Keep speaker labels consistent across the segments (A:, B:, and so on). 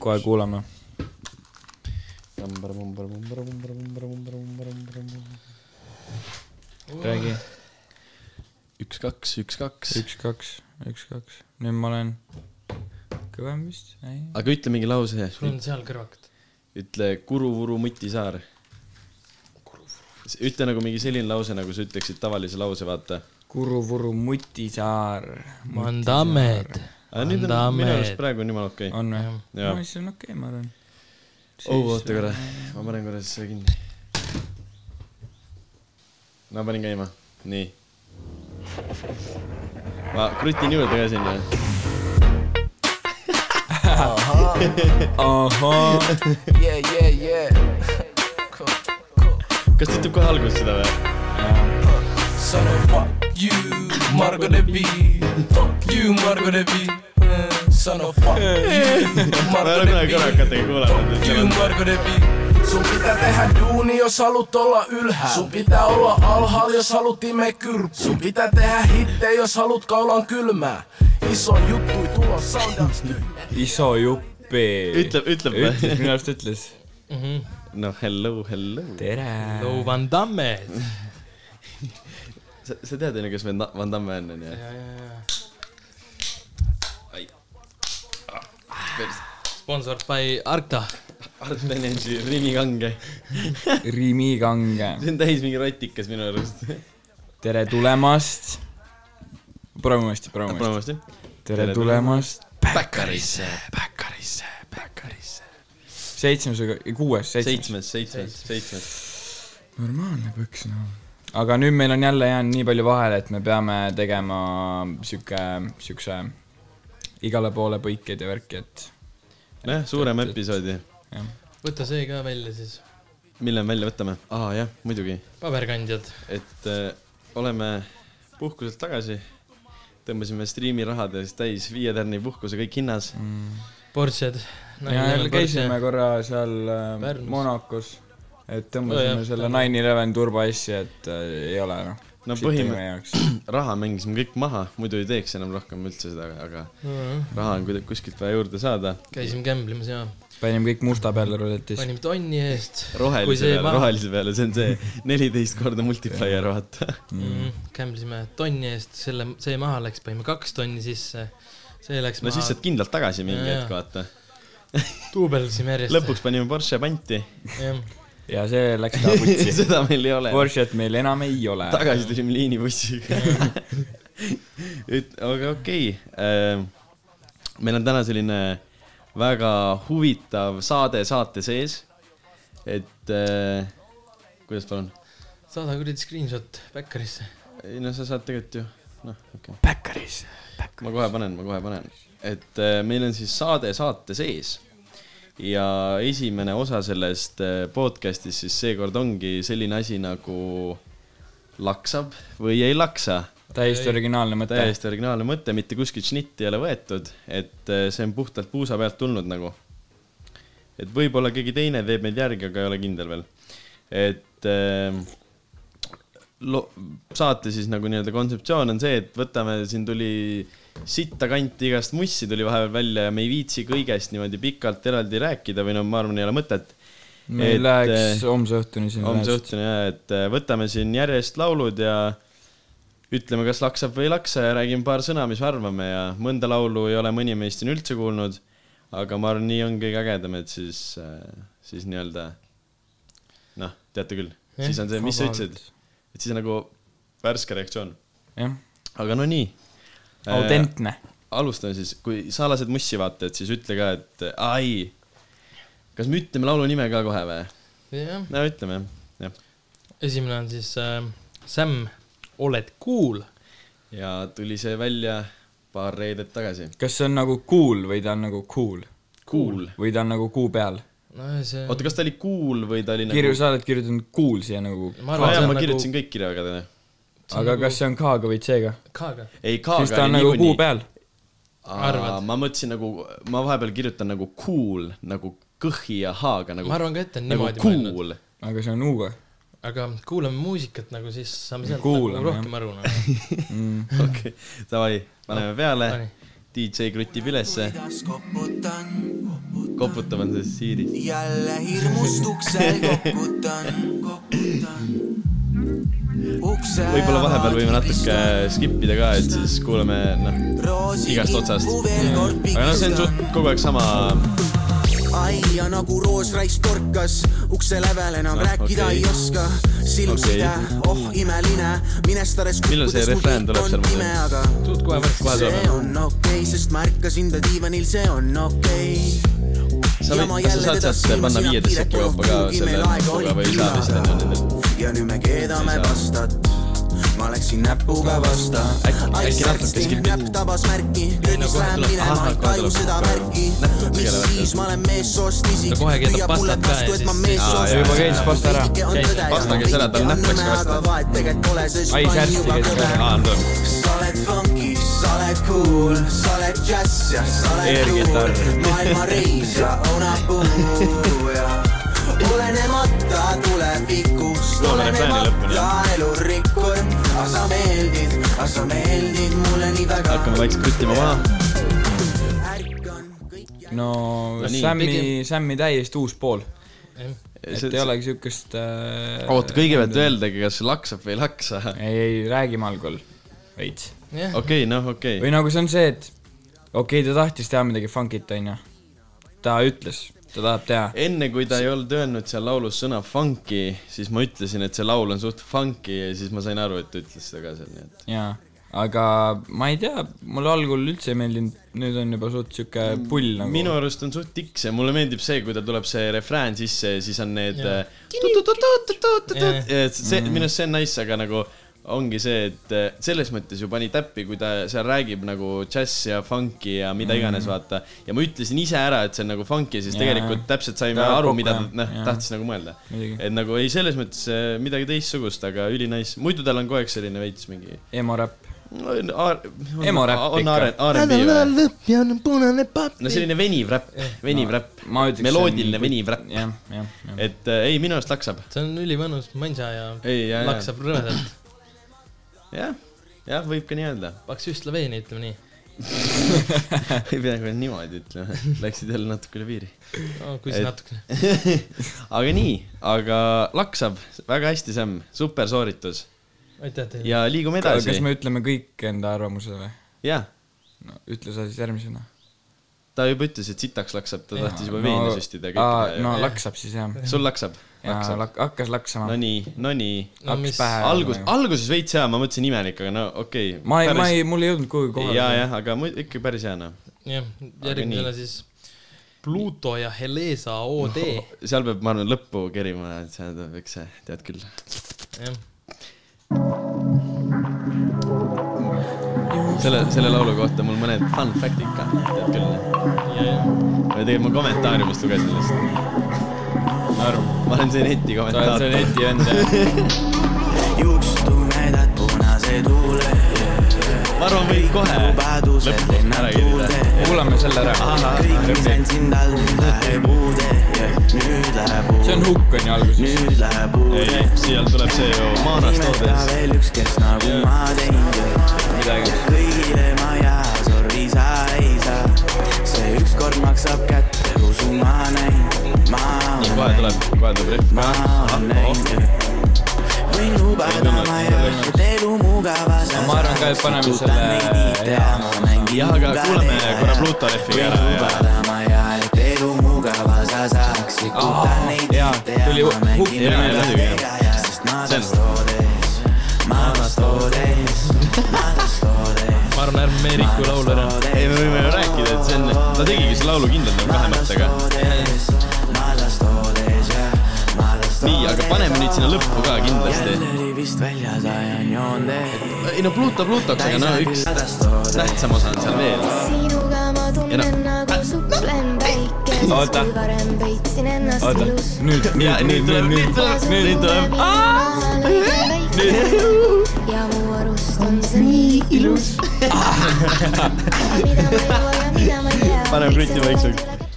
A: kohe kuulame . räägi ,
B: üks , kaks , üks , kaks .
A: üks , kaks , üks , kaks , nüüd ma olen kõvem vist , ei .
B: aga ütle mingi lause .
C: sul on seal kõrvakad .
B: ütle Kuru-Vuru Mutisaar . ütle nagu mingi selline lause , nagu sa ütleksid tavalise lause , vaata .
A: Kuru-Vuru Mutisaar .
C: Mandamed .
B: aga nüüd on minu arust praegu on jumala okei okay. .
A: on või ?
B: jaa
A: no . siis on okei okay, , ma arvan .
B: oh , oota korra , ma panen korra siis selle kinni . no panin käima , nii . ma krutin juurde ka sinna .
A: ahhaa ,
D: Yeah, yeah, yeah. Cool, cool.
B: kas ta ütleb kohe alguses seda või ?
D: So fuck you, Margot Robbie. Fuck you, Margot Robbie. Mm, Son of fuck you,
B: ma ei ole
D: Margot
B: kunagi
D: Robbie.
B: kõrakatega kuulanud , et seal
D: Fuck
B: on
D: you, Margot Robbie. Sun pitää tehdä duuni, jos haluat olla ylhäällä. Sun pitää olla alhaalla, jos haluat imee kyrpy. Sun pitää tehdä hittejä, jos haluat kaulan kylmää. Iso juttu tulossa on dance nyt.
A: iso juppi .
B: Ütleb- ütleb või?
A: ütles , minu arust ütles .
B: no hello , hello .
A: tere .
C: no Van Damme .
B: sa , sa tead onju , kes Van Da- Van Damme on onju ?
C: Sponsored by Arkta .
B: Art Energy , Rimi Kange .
A: Rimi Kange ,
B: see on täis mingi rotikas minu arust .
A: tere tulemast . proovime uuesti , proovime uuesti .
B: proovime uuesti .
A: tere
B: Tere
A: tulemast .
B: Päkkarisse , päkkarisse , päkkarisse .
A: seitsmes või kuues , seitsmes .
B: seitsmes , seitsmes , seitsmes .
A: normaalne põks , noh . aga nüüd meil on jälle jäänud nii palju vahele , et me peame tegema sihuke , siukse igale poole põikeid ja värki , et
B: nojah , suurema episoodi .
A: jah .
C: võta see ka välja siis .
B: mille me välja võtame ? aa jah , muidugi
C: paberkandjad .
B: et äh, oleme puhkuselt tagasi , tõmbasime striimi rahadest täis viie tärni puhkuse kõik hinnas .
C: Portsed .
A: ja jälle käisime . korra seal äh,
C: Pärnus.
A: Monacos , et
B: Oh,
C: Nojah,
A: tõmbasime selle nine eleven turbo asja , et äh, ei ole noh .
B: No põhimõ- raha mängisime kõik maha , muidu ei teeks enam rohkem üldse seda , aga raha on kuidagi kuskilt vaja juurde saada .
C: käisime kämblimas ja
A: panime kõik musta peale ruletis .
C: panime tonni eest .
B: rohelise peale , rohelise peale , see on see neliteist korda multiplier , vaata .
C: mm, . kämblisime tonni eest , selle , see maha läks , panime kaks tonni sisse , see läks
B: no
C: maha
B: siis , saad kindlalt tagasi mingi
C: Jaa, jaa.
B: hetk , vaata .
C: duubeldasime järjest .
B: lõpuks panime Porsche panti ,
C: jah ,
A: ja see läks ka putsi .
B: seda meil ei ole .
A: Porsche't meil enam ei ole .
B: tagasi tulime liinibussiga . et aga okei okay. , meil on täna selline väga huvitav saade saate sees . et äh, kuidas palun ?
C: saada kuradi screenshot backerisse .
B: ei no sa saad tegelikult ju , noh okei okay. ,
A: Päkkaris .
B: ma kohe panen , ma kohe panen , et äh, meil on siis saade saate sees ja esimene osa sellest äh, podcast'ist siis seekord ongi selline asi nagu laksab või ei laksa
A: täiesti originaalne mõte .
B: täiesti originaalne mõte , mitte kuskilt šnitti ei ole võetud , et eh, see on puhtalt puusa pealt tulnud nagu . et võib-olla keegi teine teeb meid järgi , aga ei ole kindel veel . et eh, lo- , saate siis nagu nii-öelda kontseptsioon on see , et võtame , siin tuli sitta kanti igast mussi tuli vahepeal välja ja me ei viitsi kõigest niimoodi pikalt eraldi rääkida või no ma arvan , ei ole mõtet .
A: meil
B: et, eh, äh,
A: läheks homse õhtuni sinna .
B: homse . õhtuni ja , et eh, võtame siin järjest laulud ja ütleme , kas laksab või ei laksa ja räägime paar sõna , mis me arvame ja mõnda laulu ei ole mõni meist siin üldse kuulnud . aga ma arvan , nii on kõige ägedam , et siis , siis nii-öelda noh , teate küll ,
C: Jah,
B: siis on see , mis sa ütlesid , et siis on nagu värske reaktsioon .
A: jah ,
B: aga no nii . Äh,
A: autentne .
B: alustame siis , kui sa lased mussi vaata , et siis ütle ka , et ai , kas me ütleme laulu nime ka kohe või ?
C: jah ,
B: no ütleme jah , jah
C: esimene on siis äh, Sam , oled cool .
B: ja tuli see välja paar reedet tagasi .
A: kas see on nagu cool või ta on nagu cool
B: Cool .
A: või ta on nagu kuu peal ?
C: no see ,
B: oota , kas ta oli cool või ta oli
A: kirju ,
B: nagu
A: sa oled kirjutanud cool siia nagu ,
B: aa
C: ma arvan ,
B: jaa ,
C: see
B: ma
C: on
B: kirjutasin
C: nagu
B: kõik kirjaga täna .
A: aga kas see on K-ga või C-ga ?
C: K-ga .
B: ei ,
A: siis
B: K-ga
A: ta on
B: oli
A: nagu kuu
B: niikuinii .
A: peal .
C: Arvad?
B: ma mõtlesin nagu , ma vahepeal kirjutan nagu cool , nagu kõhi ja H-ga nagu .
C: ma arvan ka , et on
B: nagu
C: niimoodi mõelnud .
B: cool .
A: aga see on U-ga .
C: aga kuulame muusikat nagu siis saame sealt
A: Kuulame,
C: nagu rohkem aru nagu .
B: okei , davai , paneme peale . DJ krutib ülesse ,
E: kuidas koputan ,
B: koputavad sellest siirist .
E: jälle hirmustuksel koputan , koputan .
B: võib-olla vahepeal võime natuke skip ida ka , et siis kuulame , noh , igast otsast . aga noh , see on suht kogu aeg sama ,
E: aia nagu roosraisk torkas , ukse lävel enam
B: Ah,
E: ah, rääkida
B: okei.
E: okay. ei oska . silm
B: Okei.
E: okay. side , oh imeline , minestades
B: Millal see refrään tuleb seal mõttes?
E: ime , aga
C: suht kohe varsti .
B: kohe tuleb
E: see . on okei okay, , sest ma ärkasin ta diivanil , see on okei okay. .
B: sa võid , kas sa saad sealt panna viieteist sekki kaupa ka selle nupuga või ei saa vist enne nendel .
E: ja nüüd me keedame
B: Ei saa.
E: pastat . ma läksin näpuga vasta .
B: Äkki- äkki natuke skipid?
E: näpp tabas märki ,
B: Nagu
E: köögis
C: kohe
E: lähen
C: tuleb-
E: minema ,
B: ahah,
E: ei
B: kohe
E: taju
B: tuleb-
E: seda värki
B: Näpp tuleb .
E: mis
B: segele värki.
E: siis , ma olen meessoost isik .
C: Ta kohe keedab pastat ka ja siis- Aa,
A: ja juba käis pasta ära.
B: Pasta käis ära, tal näpp läks ka vasta.
E: vasta
A: Ai, särtsi käis ka ära.
B: aa , on tore .
E: sa oled funky , sa oled cool , sa oled jazz ja sa oled
B: Air-kitarr.
E: tuul. maailma reis ja onapuu ja olenemata tulevikust .
B: Loome refrääni lõpuni, jah.
E: elurikkur , aga sa meeldid , aga sa meeldid mulle nii väga .
B: hakkame vaikselt kruttima maha .
E: ärkan kõik jälle .
A: no
B: No nii.
A: Sämmi ,
C: Pigem-
A: Sämmi täiesti uus pool . et ei olegi siukest äh,
B: oota , kõigepealt . öeldagi , kas laksab või ei laksa .
A: ei , ei räägime algul veits .
C: jah ,
B: okei , noh , okei .
A: või nagu see on see , et okei okay, , ta tahtis teha midagi funkit , onju . ta ütles , ta tahab teha .
B: enne kui ta ei olnud öelnud seal laulus sõna funky , siis ma ütlesin , et see laul on suht funky ja siis ma sain aru , et ta ütles seda ka seal , nii et .
A: jaa , aga ma ei tea , mulle algul üldse ei meeldinud , nüüd on juba suht siuke pull nagu .
B: minu arust on suht tiks ja mulle meeldib see , kui tal tuleb see refrään sisse ja siis on need
C: Jaa.
B: äh, tu-tu-tu-tu-tu-tu-tu-tu-
C: Jaa.
B: ja et see , minu arust see on nice , aga nagu ongi see , et äh, selles mõttes ju pani täppi , kui ta seal räägib nagu džässi ja funk'i ja mida iganes , vaata . ja ma ütlesin ise ära , et see on nagu funk'i , siis
A: Jaa.
B: tegelikult täpselt saime
A: Ta
B: aru ,
A: kokku,
B: mida ta
A: jah.
B: noh
A: Jaa. ,
B: tahtis nagu mõelda .
A: Muidugi.
B: et nagu ei , selles mõttes äh, midagi teistsugust , aga ülinais , muidu tal on kogu aeg selline veits mingi .
A: emoräpp . Emoräpp
B: Emoräpp
A: ikka.
B: R&B või ?
E: lõpp ja on punane papp .
B: no selline veniv räpp , veniv räpp
A: ma ütleks .
B: meloodiline veniv räpp .
A: jah , jah , jah .
B: et äh, ei , minu arust laksab .
C: see on ülimõnus mansa ja
B: ei , ja , ja ,
C: laksab rõvedalt .
B: jah , jah , võib ka nii öelda .
C: paks üstla veini , ütleme nii .
B: ei pea kohe niimoodi ütlema , läksid jälle natuke üle piiri .
C: no kui siis
B: Et-
C: natukene .
B: aga nii , aga laksab , väga hästi , Sam , super sooritus
C: aitäh teile .
B: ja liigume edasi
A: kas . me ütleme kõik enda arvamuse või ?
B: jah ,
A: no ütle sa siis järgmisena .
B: ta juba ütles , et sitaks laksab , ta tahtis juba
A: No,
B: veene süstida ja
A: aa,
B: kõik
A: no
B: teha ju.
A: laksab siis jah .
B: sul laksab ,
A: ja
B: laksab .
A: lak- , hakkas laksama no, .
B: Nonii , nonii .
C: no
A: hakkas
C: mis ,
A: pähe
B: algus , alguses veits hea , ma mõtlesin imelik , aga no okei okay, .
A: ma ei , ma ei , mul ei jõudnud kuhugi kohale .
B: ja , jah , aga mu- ikka päris hea noh .
C: jah ,
B: nii.
C: järgmisena siis Pluto ja Helesa OD ,
B: seal peab , ma arvan , lõppu kerima , et see tuleb üks , tead küll .
C: jah .
B: selle , selle laulu kohta mul mõned fun fact'id ka , tead küll . või tegelikult ma kommentaariumist lugesin lihtsalt . ma olen see neti
A: ta on see
B: kommentaator .
A: neti vend jah .
E: juukstu näidad punase tuule .
B: ma arvan , võib kohe
E: vabadusel
B: lõppu ära
E: lennad
B: kirjutada .
E: tuulde .
A: kuulame selle ära .
E: kõik , mis andsin talle , nüüd läheb uude , nüüd läheb
A: see on
E: uude ,
A: hukk on ju alguses .
E: nüüd läheb uude .
B: siia tuleb see ju Maanast
E: nimeta
B: ootes .
E: veel üks , kes nagu ma teinud .
A: Midagi.
E: kõigile ma ei jää , sorry sa ei saa . see ükskord maksab kätte , usu ma näin , ma
B: nii ,
E: olen
B: kohe tuleb ,
E: näinud ,
B: kohe tuleb rühm
E: ma olen
B: ka .
E: näinud . võin lubada , ma ei ole , et elu mugavas .
A: ma arvan ka, et paneme selle-
B: jah , aga kuulame korra Pluto rehvi ka ära ja .
E: lubadama ja et elu mugava sa saaks
A: Aa,
E: ikutan neid
A: jaa, tuli hu- hukk
B: nime läbi, jah.
E: sest ma tastoodes , ma tastoodes , ma tastoodes ,
C: ma arvan , ärme me Riku laulu ära .
B: Ah, oh. ei , me võime ju rääkida , et see on , ta tegigi selle laulu kindlalt nagu kahe mõttega .
E: tastoodes , ma tastoodes ja ma tastoodes .
B: nii , aga paneme nüüd sinna lõppu ka kindlasti .
E: jälle oli vist väljas , ajan joonde .
B: ei no Pluto Plutoks , aga no üks tähtsam osa on seal veel .
F: sinuga ma tunnen nagu suplen päikest ,
A: Oota.
F: kui varem peitsin ennast
A: oota ,
F: ilus .
A: nüüd ,
B: ja
A: nüüd ,
B: nüüd
A: nüüd ,
B: tuleb ,
A: nüüd ,
B: nüüd
A: nüüd .
B: tuleb , nüüd tuleb .
F: ja mu arust on see nii ilus . mida ma ei jõua ja mida ma ei tea .
B: Paneme krutti vaiksemaks. .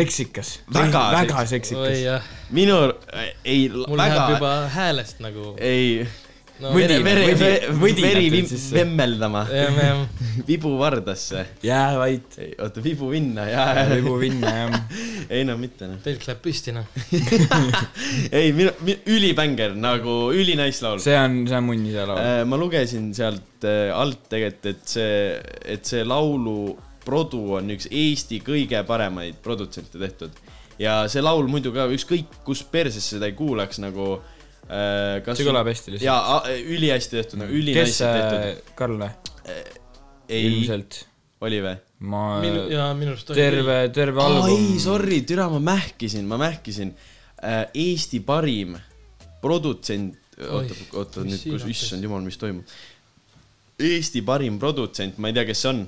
A: seksikas .
B: Väga
A: väga
C: oi
A: seksikas .
C: jah ,
B: minu , äh, ei ,
C: mul läheb
B: väga ,
C: juba häälest nagu ,
B: ei ,
C: no
A: Mõni-
C: vere ,
B: veri , veri ,
A: Võdi-
B: veri ,
A: võdi
B: veri
A: jätad
B: vim-
A: sisse.
B: vemmeldama ,
C: jah , jah .
B: vibu vardasse ,
A: jää vait ,
B: oota , vibu vinna ja , ja ,
A: vibu vinna jah .
B: ei no mitte noh .
C: telk läheb püsti , noh .
B: ei , minu , ülibänger nagu ülinais laul .
A: see on , see on munni see laul .
B: Äh, ma lugesin sealt äh, alt tegelikult , et see , et see laulu produ on üks Eesti kõige paremaid produtsente tehtud . ja see laul muidu ka ükskõik kus persesse seda ei kuulaks nagu äh, .
A: See kõlab hästi lihtsalt.
B: jaa , ülihästi tehtud , nagu
A: kes
B: ülinaiselt tehtud .
A: äh, , Karl või ?
B: ei ,
A: ilmselt .
B: oli või ?
A: ma
B: Äh,
C: minu , jaa , minu arust
A: terve , terve
B: ai
A: album ,.
B: sorry , türa , ma mähkisin , ma mähkisin äh, . Eesti parim produtsent , oota , oota
C: mis
B: nüüd , kus ,
C: siiralt
B: issand jumal , mis toimub . Eesti parim produtsent , ma ei tea , kes see on .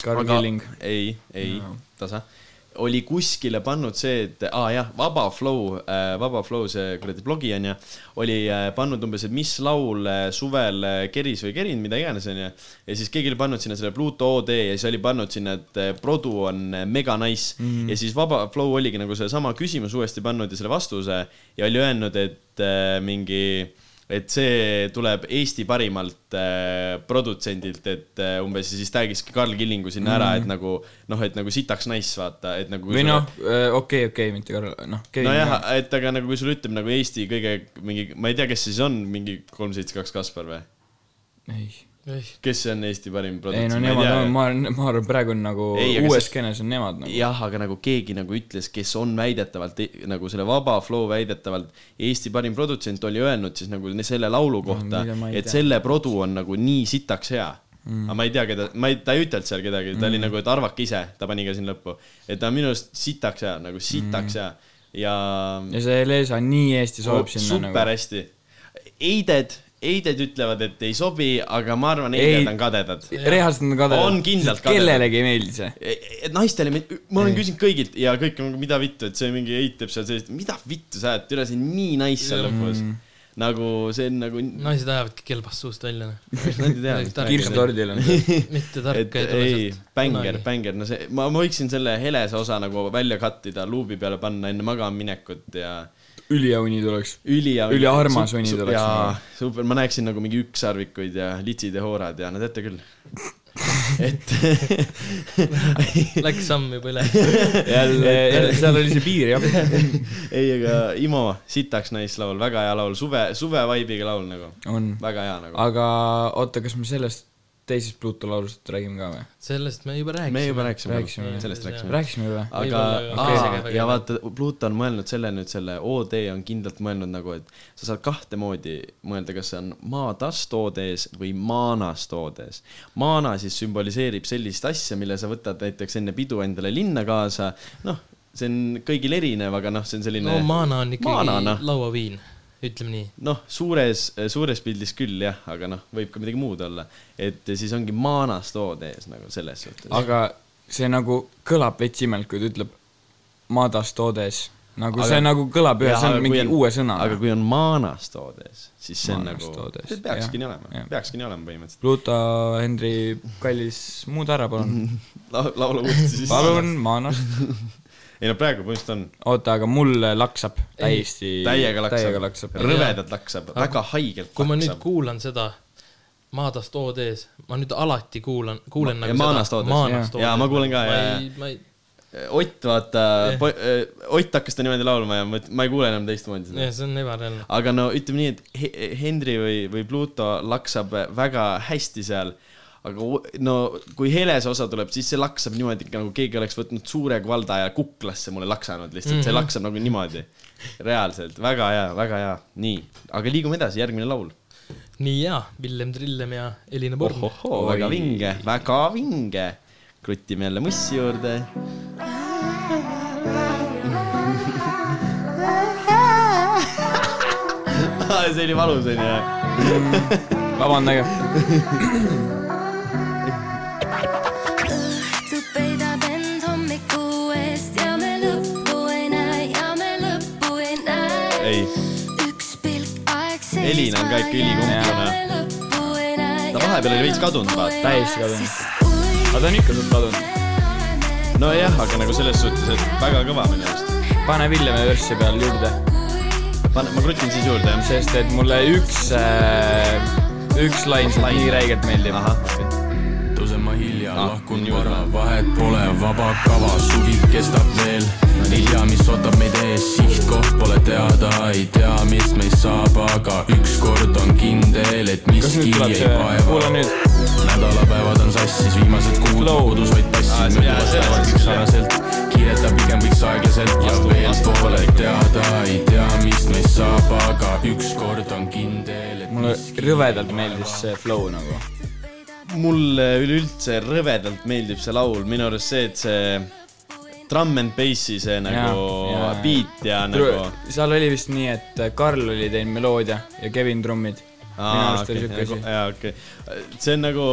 A: Karl Killing .
B: ei , ei no.
A: No. ,
B: tasa . oli kuskile pannud see , et aa ah, jah , Vaba Flow äh, , Vaba Flow , see kuradi blogi onju , oli äh, pannud umbes , et mis laul äh, suvel äh, keris või kerinud , mida iganes onju . ja siis keegi oli pannud sinna selle Pluto OD ja siis oli pannud sinna , et äh, produ on äh, mega nice mm . -hmm. ja siis Vaba Flow oligi nagu sellesama küsimuse uuesti pannud ja selle vastuse ja oli öelnud , et äh, mingi et see tuleb Eesti parimalt äh, produtsendilt , et äh, umbes ja siis tag'iski Karl Killingu sinna ära , et nagu noh , et nagu sitaks nice vaata , et nagu .
A: Mhm. või noh , okei , okei , mitte Karl , noh , Kevin
B: nojah
A: ka .,
B: et aga nagu kui sulle ütleb nagu Eesti kõige mingi , ma ei tea , kes siis on mingi kolm seitse kaks Kaspar või ?
A: ei ,
C: ei ,
B: kes see on Eesti parim
A: ei
B: produtsent ?
A: no nemad on , ma arvan , ma arvan , praegu on nagu
B: Ei, aga
A: uues
B: see-
A: skeenes on nemad nagu .
B: jah , aga nagu keegi nagu ütles , kes on väidetavalt e- nagu selle Vaba Flow väidetavalt Eesti parim produtsent oli öelnud siis nagu ne- selle laulu kohta
A: mida
B: no,
A: ma , ei
B: et
A: tea.
B: selle produ on nagu nii sitaks hea mm. . aga ma ei tea , keda , ma ei , ta ei ütelnud seal kedagi , ta mm. oli nagu , et arvake ise , ta pani ka siin lõppu , et ta on minu arust sitaks hea , nagu sitaks mm. hea ja,
A: ja see Leesa nii hästi
B: ja
A: sobib sinna
B: Oh, super
A: nagu .
B: hästi . Eided , Eided ütlevad , et ei sobi , aga ma arvan ,
A: Ei-
B: Eided on kadedad
A: reaalselt on kadedad .
B: On kindlalt kadedad.
A: kellelegi ei meeldi see .
B: et E, naistele , ma olen küsinud kõigilt ja kõik on , mida vittu , et see mingi eitab seal sellist , mida vittu sa ajad , türa see on nii nice seal lõpus . nagu see on nagu ,
C: naised ajavadki kelbast suust välja , noh .
B: nad ei tea .
C: Tark-
A: kirstordil on see .
C: mitte
B: et
C: tarka ei tule
B: ei
C: sealt .,
B: bänger ,. bänger , no see , ma , ma võiksin selle helese osa nagu välja cut ida , luubi peale panna enne magamaminekut ja
A: üliauni tuleks .
B: üli ja
A: Üliarmas
B: su-
A: uni
B: su-
A: tuleks
B: jaa
A: mulle. ,
B: super , ma näeksin nagu mingi ükssarvikuid ja litsid ja hoorad ja no teate küll . et
C: Läks samm juba üle .
A: jälle , jälle , seal oli see piir jah .
B: ei , aga Imo , sitaks naislaul , väga hea laul , suve , suve vibe'iga laul nagu ,
A: on .
B: väga hea nagu .
A: aga oota , kas me sellest teisest Pluto laulust räägime ka või ?
C: sellest me juba rääkisime .
B: me juba rääkisime,
A: Rääkisime.
B: sellest rääkisime .
A: rääkisime või ?
B: aga
C: Võib-olla,
B: aa,
C: aga isegi väga
B: ja
C: hea.
B: vaata , Pluto on mõelnud selle nüüd , selle OD on kindlalt mõelnud nagu , et sa saad kahte moodi mõelda , kas see on maatast OD-s või maanast OD-s . maana siis sümboliseerib sellist asja , mille sa võtad näiteks enne pidu endale linna kaasa , noh , see on kõigil erinev , aga noh , see on selline
C: no maana on
B: Maana, noh.
C: ikkagi lauaviin , ütleme nii .
B: noh , suures , suures pildis küll jah , aga noh , võib ka midagi muud olla . et siis ongi maanast tood ees nagu selles suhtes .
A: aga see nagu kõlab veits imelikult , ütleb madas toodes . nagu aga, see
B: Aga-
A: nagu kõlab ühe sõna , mingi on, uue sõna .
B: aga kui on maanast tood ees , siis see on
A: Maanast
B: nagu
A: tood ees, , jah,
B: peakski nii olema
A: jah. ,
B: peakski nii olema põhimõtteliselt
A: Pluto , Henri , kallis , muuda ära palun .
B: La . laulu uuesti siis .
A: palun , maanast .
B: ei no praegu põhimõtteliselt on ,
A: oota , aga mul laksab täiesti .
B: täiega
A: täiega
B: laksab
A: laksab .,
B: rõvedalt laksab , väga haigelt
C: kui ma nüüd
B: laksab .
C: kuulan seda Maadast OD-s , ma nüüd alati kuulan , kuulen
B: Ma-
C: nagu
B: ja Maanast
C: seda
B: OD-s,
C: Maanast
B: jah. Jaa, ma kuulen ka,
C: ma
B: jaa,
C: ei , ma ei ,
B: Ott vaata , Ott hakkas ta niimoodi laulma ja ma , ma ei kuule enam teistmoodi seda
C: jah , see on ebareaalne .
B: aga no ütleme nii , et He- Henry või , või Pluto laksab väga hästi seal , aga u- no kui helese osa tuleb , siis see laksab niimoodi , nagu keegi oleks võtnud suure kvalda ja kuklasse mulle laksanud lihtsalt , see laksab nagu niimoodi . reaalselt , väga hea , väga hea , nii , aga liigume edasi , järgmine laul .
C: nii hea , Villem Trillem ja Elina Born .
B: ohohoo , väga vinge , väga vinge . krutime jälle mussi juurde . Ah, see oli valus onju
A: vabandage .
F: õhtu peidab end hommiku eest ja me lõppu ei näe ja me lõppu ei näe .
B: ei ,
F: üks pilk aeg
B: Elina on ka ikka ülikumbune. Ta vahepeal oli veits kadunud, vaata.
A: Täiesti kadunud. aga ta on ikka suht kadunud .
B: nojah , aga nagu selles suhtes , et väga kõva minu arust .
A: pane Villemi verssi peale juurde .
B: pane , ma krutin siis juurde , jah ?
A: sest et mulle üks äh, , üks lain sealt nii räigelt meeldib .
B: ahah , okei okay. .
G: tõusema hilja ,
A: Ah,
G: lahkun vara , vahet pole , vaba kava , suvi kestab veel . hilja , mis ootab meid ees , sihtkoht pole teada , ei tea , mis meist saab , aga ükskord on kindel , et
A: kas nüüd
G: miski
A: tuleb
G: ei
A: see , kuule
G: vaeva .
A: nüüd ,
G: nädalapäevad on sassis , viimased kuud
A: Flow. Ah,
G: kodus vaid
B: Aa,
G: passid ,
B: see- jaa,
G: mööduvad
B: see-
G: päevad
B: see-
G: ükssaraselt . kiirelda pigem võiks aeglaselt ja veel pole teada , ei tea , mis meist saab , aga ükskord on kindel , et
A: mulle
G: miski
A: rõvedalt meeldis see flow nagu .
B: mulle üleüldse rõvedalt meeldib see laul , minu arust see , et see trumm and bassi see nagu
A: jaa.
B: beat ja nagu .
A: seal oli vist nii , et Karl oli teinud meloodia ja Kevin trummid . minu arust oli siuke asi .
B: jaa , okei . nagu- see on nagu ,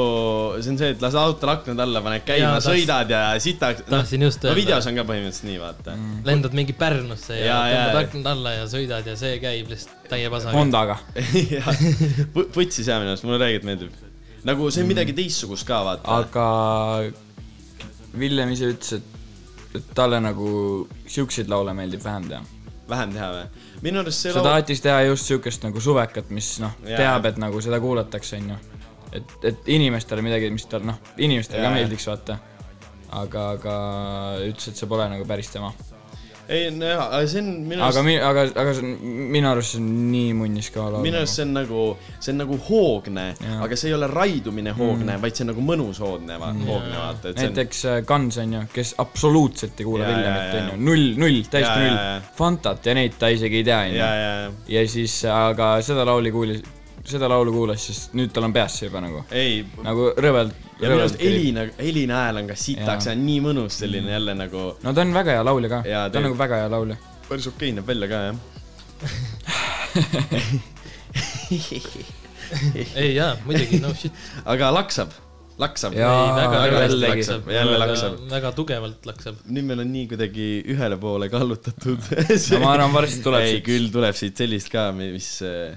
B: see on see , et lase autol aknad alla , paned käima
C: Jaa, , tahtsin-
B: sõidad ja sitaks .
C: tahtsin just
B: no
C: öelda.
B: videos on ka põhimõtteliselt nii , vaata mm. .
C: lendad mingi Pärnusse ja, ja
B: Jaa, jaa.
C: tõmbad aknad alla ja sõidad ja see käib lihtsalt täie pasaga .
A: Hondaga .
B: putsis jaa minu arust , mulle räigelt meeldib . nagu see on midagi teistsugust ka , vaata .
A: aga Villem ise ütles , et , et talle nagu siukseid laule meeldib vähem teha .
B: vähem teha või ? minu arust see
A: ta
B: laul ,
A: tahtis teha just siukest nagu suvekat , mis noh ,
B: Jaa.
A: teab , et nagu seda kuulatakse , onju . et , et inimestele midagi , mis tal noh , inimestele
B: Jaa.
A: ka meeldiks , vaata . aga , aga ütles , et see pole nagu päris tema .
B: ei nojah , aga see on minu
A: aga
B: arust ,
A: mi- , aga , aga see on , minu arust see on nii munnis ka laul .
B: minu arust see on nagu , see on nagu hoogne ,
A: Jaa.
B: aga see ei ole raidumine hoogne mm. , vaid see on nagu mõnus hoodne , hoogne , vaata .
A: Mm. näiteks äh, Guns onju , kes absoluutselt ei kuula
B: Jaa, jaa,
A: Villemit
B: jaa.
A: onju , null , null ,
B: Jaa,
A: täiesti
B: jaa, jaa.
A: null . Fantat ja neid ta isegi ei tea
B: ja ,
A: onju .
B: ja , ja
A: ja siis , aga seda lauli kuulis , seda laulu kuulas , siis nüüd tal on peas see juba nagu ,
B: ei ,
A: nagu rõvelt .
B: ja minu arust Elina , Elina hääl on ka sitaks , see on nii mõnus , selline
A: Mm.
B: jälle nagu
A: no ta on väga hea laulja ka ,
B: Jaa,
A: ta on
B: tegelikult.
A: nagu väga hea laulja .
B: päris okei näeb välja ka jah .
C: ei jaa , muidugi , no shit .
B: aga laksab , laksab .
A: Jaa,
B: väga hästi
A: jällegi.
B: laksab , jälle laksab ..
C: väga tugevalt laksab .
B: nüüd meil on nii kuidagi ühele poole kallutatud .
A: no ma arvan , varsti tuleb
B: ei ,
A: siit .
B: küll tuleb siit sellist ka , mis äh,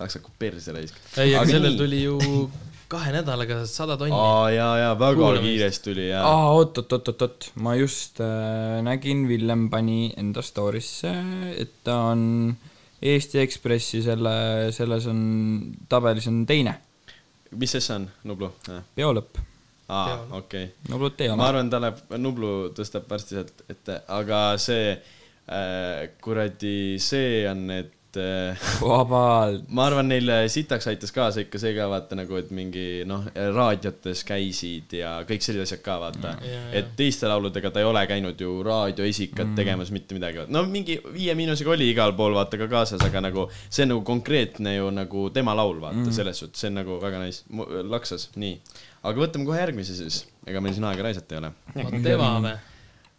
B: laksab kui perse raisk .
C: ei ,
B: Aga
C: aga sellel
B: nii.
C: tuli ju kahe nädalaga sada tonni .
B: aa jaa , jaa , väga
C: Kuulamist.
B: kiiresti tuli ja .
C: Ah.
A: aa , oot , oot , oot , oot , oot , ma just äh, nägin , Villem pani enda story'sse , et ta on Eesti Ekspressi selle , selles on , tabelis on teine ,
B: mis see on , Nublu ?
A: peo lõpp .
B: aa
C: Jaa. ,
B: okei
A: no vot ei
B: ma
A: ole .
B: arvan , ta läheb , Nublu tõstab varsti sealt ette , aga see äh, kuradi , see on , et äh,
A: vabalt .
B: ma arvan , neile sitaks aitas kaasa ikka see ka vaata nagu , et mingi noh , raadiotes käisid ja kõik sellised asjad ka vaata
C: Mm. Jaa, jaa.
B: et teiste lauludega ta ei ole käinud ju raadioesikat mm. tegemas mitte midagi , no mingi Viie Miinusega oli igal pool vaata ka kaasas , aga nagu see on nagu konkreetne ju nagu tema laul vaata mm. selles suhtes , see on nagu väga nice , laksas , nii . aga võtame kohe järgmise siis , ega meil siin aega raisata ei ole
C: Mateva või ?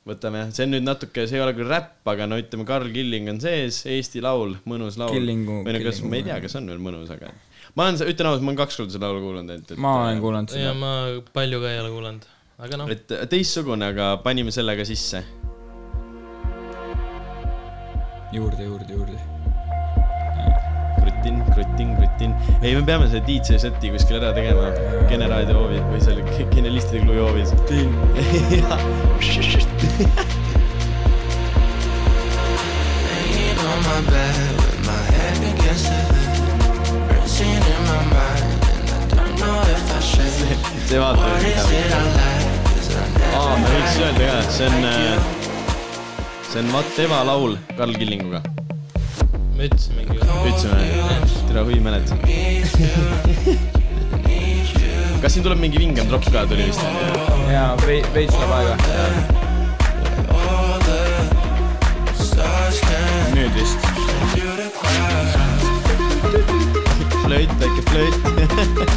B: võtame jah , see on nüüd natuke , see ei ole küll räpp , aga no ütleme , Karl Killing on sees , Eesti Laul , mõnus laul .
A: Killingu-
B: või no kas ,
A: Killingu-
B: ma ei tea , kas on veel mõnus , aga ma olen , ütlen ausalt , ma olen kaks korda seda laulu kuulanud ainult .
A: ma olen kuulanud
C: ja
A: seda .
C: ma palju ka ei ole kuulanud , aga noh ,
B: et teistsugune , aga panime selle ka sisse .
A: juurde , juurde , juurde .
B: krutin , krutin , krutin . ei , me peame selle DJ seti kuskil ära tegema . Kene raadio hoovi või seal Genelistide klubi hoovis .
E: Laying on my bed with my head against the hood. Racing in my mind, and I don't know if I should.
B: see vaata
E: What is it I like? 'Cause I never
B: aa , ma võiks öelda ka , see on , see on Vateva laul Karl Killinguga .
C: me ütlesimegi ju .
B: ütlesime , tere , hui mäletan . kas siin tuleb mingi vingem tropp ka tuli vist ?
A: jaa , veits läheb aega .
E: stars can
A: nüüd vist .
E: do the crowd.
B: flööt , väike flööt .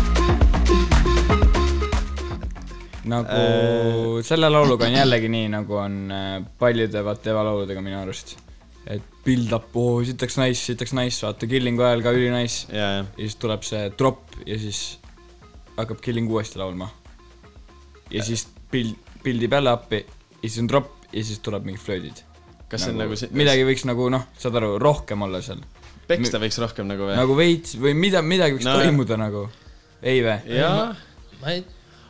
A: nagu selle lauluga on jällegi nii , nagu on äh, paljude Vateva lauludega minu arust . et build-up , oo , sitaks nice , sitaks nice , vaata Killingu ajal ka üli nice .
B: ja , ja ,
A: ja siis tuleb see drop ja siis hakkab Killing uuesti laulma .
B: Äh.
A: ja siis pild , pildib jälle appi ja siis on drop ja siis tuleb mingi flöödid .
B: kas see on nagu see , Äh.
A: midagi võiks nagu noh , saad aru , rohkem olla seal .
B: peksta võiks rohkem nagu või ?
A: nagu veits või mida , midagi võiks
B: No
A: no,
B: jah.
A: toimuda nagu . ei vä ?
B: jah ,
C: ma ei ,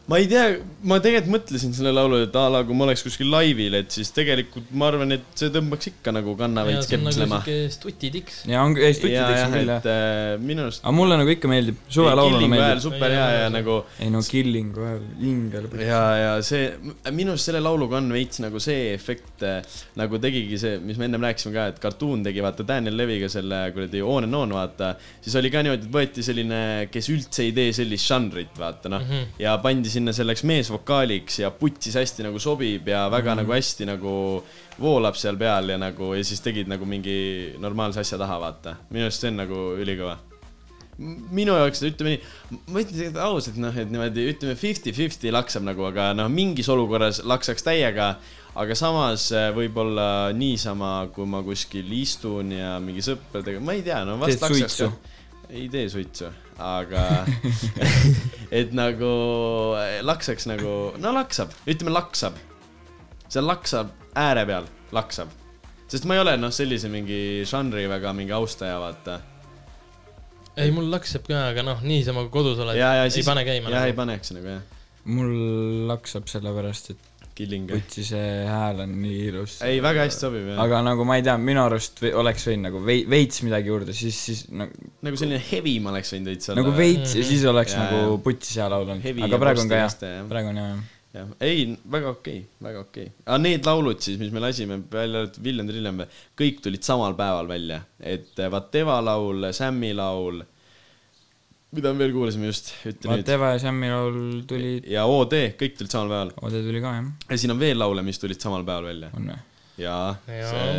B: ma ei tea , ma tegelikult mõtlesin selle laulu , et a la kui ma oleks kuskil laivil , et siis tegelikult ma arvan , et see tõmbaks ikka nagu kanna
C: ja
B: veits
C: see on nagu
B: kepslema .
C: siuke stutitiks .
A: ja on , ei , tutid ,
B: ja ,
A: eks
B: jah ,
A: on küll ,
B: et
A: jah .
B: äh, minu arust .
A: aga mulle nagu ikka meeldib , suvelaul mulle meeldib .
B: super hea ja nagu
A: ei no Killing Well , hingel .
B: ja , ja see , minu arust selle lauluga on veits nagu see efekt äh, nagu tegigi see , mis me ennem rääkisime ka , et kartuun tegi vaata Daniel Leviga selle kuradi On and On vaata . siis oli ka niimoodi , et võeti selline , kes üldse ei tee sellist žanrit , vaata noh mm -hmm. ja pandi sinna selleks meesvokaaliks ja putsis hästi nagu sobib ja väga mm -hmm. nagu hästi nagu voolab seal peal ja nagu ja siis tegid nagu mingi normaalse asja taha , vaata . minu arust see on nagu ülikõva minu jaoks ütleme nii , ma ütlen teile ausalt , noh , et niimoodi ütleme fifty-fifty laksab nagu , aga noh , mingis olukorras laksaks täiega . aga samas äh, võib-olla niisama , kui ma kuskil istun ja mingi sõpradega , ma ei tea , no vast
A: Teed
B: laksaks
A: suitsu.
B: ka . ei tee suitsu , aga et nagu laksaks nagu , no laksab , ütleme laksab . see laksab ääre peal , laksab . sest ma ei ole noh , sellise mingi žanri väga mingi austaja , vaata
C: ei , mul lakseb ka , aga noh , niisama kui kodus oled ,
B: ja , ja
C: ei
B: siis
C: pane käima .
B: jah , ei paneks nagu jah ,
A: mul laksab sellepärast , et
B: killing .
A: võtsi see hääl on nii ilus .
B: ei , väga hästi sobib jah .
A: aga nagu ma ei tea , minu arust või- oleks võinud nagu vei- , veits midagi juurde , siis , siis nagu,
B: nagu selline heavy ma oleks võinud veits olla .
A: nagu veits ja siis oleks
B: Jaa,
A: nagu
B: jaa.
A: putsi hea laul olnud
B: Heavy . ja
A: aga praegu on ka
B: postiliste,
A: hea
B: jah. ,
A: praegu on hea jah .
B: jah , ei , väga okei okay, , väga okei okay. . aga need laulud siis , mis me lasime , välja arvatud Villem Trillem , kõik tulid samal päeval välja , et eh, Vateva laul , Sammi laul , mida me veel kuulasime just , ütle nüüd .
A: Mateva ja Sammi laul tuli ,
B: ja OD , kõik tulid samal päeval .
A: Ode tuli ka jah ,
B: ja siin on veel laule , mis tulid samal päeval välja .
A: on või ?
B: jaa ,
C: Jaa.
B: see ,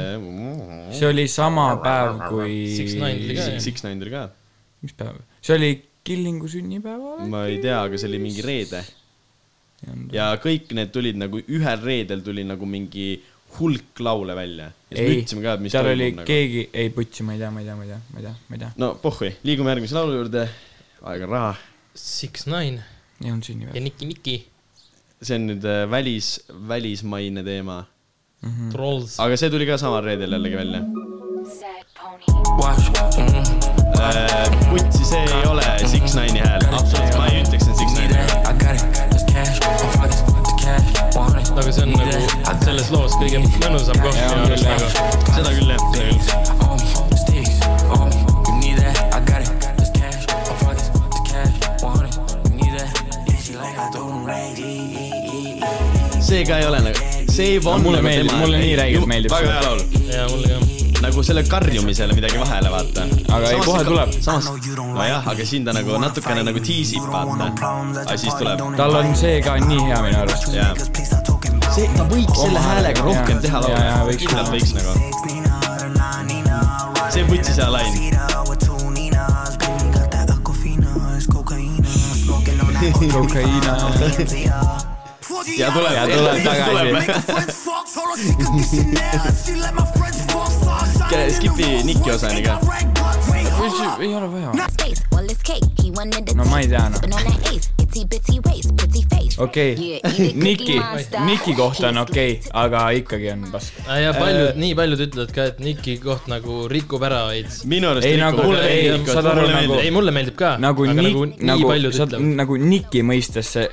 A: see oli sama päev kui
C: 6ix9ine tuli ka, jah.
B: Six Nine oli ka .
A: mis päev ? see oli Killingu sünnipäeval
B: ma ei tea , aga see oli mingi reede
A: äkki ?
B: ja kõik need tulid nagu ühel reedel tuli nagu mingi hulk laule välja . ja siis me
A: ei ,
B: ütlesime ka , et mis
A: seal oli
B: nagu.
A: keegi , ei putsi , ma ei tea , ma ei tea , ma ei tea , ma ei tea , ma ei tea ,
B: no pohhui , liigume järgmise laulu juurde . aeg on raha .
C: Six-Nine
A: ei olnud
C: ja
A: sünnipäev .
C: Nicki Nicki ,
B: see on nüüd äh, välis , välismaine teema ,
C: Trolls .
B: aga see tuli ka samal reedel jällegi välja .
F: Sad pony.
E: Watch, mm,
B: Äh, putsi , see ei ole Six-Nine'i hääl , absoluutselt , ma ei ütleks , et see on Six-Nine .
E: need that, I got it, it's cash, I'm fucking, it's cash, want it.
C: aga see on
E: need
C: nagu
E: that, I
C: selles loos kõige mõnusam koht minu arust nagu .
B: seda küll jah , seda küll .
E: on me, sticks on me. You need that? I got it. It's cash. I'm fucking with the cash. Want it? You need that? Yeah, she like I do them right. E- e- e- e-
B: see ka ei ole nagu , see ei
A: Aga mulle meeldib- mulle nii räigelt meeldib
B: väga
A: see.
B: hea laul ,
C: ja mulle ka .
B: nagu selle karjumisele midagi vahele , vaata .
A: Aga ei, kohe tuleb.
B: samas , nojah , aga siin ta nagu natukene nagu tiisib , vaata . aga siis tuleb .
A: tal on see ka nii hea minu arust .
B: jah . see , ta võiks selle häälega rohkem
A: jaa.
B: teha
A: Jaa, jaa,
B: laulu .
A: võiks
B: kindlalt võiks nagu . see võttis hea lain .
A: kokaiina .
B: ja tuleb ,
A: Ja tuleb tagasi. .
B: Skipi Nicki osani ka .
A: ei ole vaja .
H: Space, well it's cake. He wanted the
A: No ma ei tea noh .
H: on that ace, itsy bitsy waist, pretty face.
A: okei , Niki , Niki kohta on okei okay, , aga ikkagi on pask .
C: ja
B: Äh,
C: paljud , nii paljud ütlevad ka , et Nicki koht nagu rikub ära veits .
B: minu arust
A: Ei, nagu-
B: mulle
A: ei,
B: ei
A: saad aru, nagu-
C: ei , mulle meeldib ka ,
A: nagu
C: aga
A: nii
C: nagu , nii
A: nagu ,
C: paljud
A: saad
C: ütlevad .
A: nagu Niki mõistes see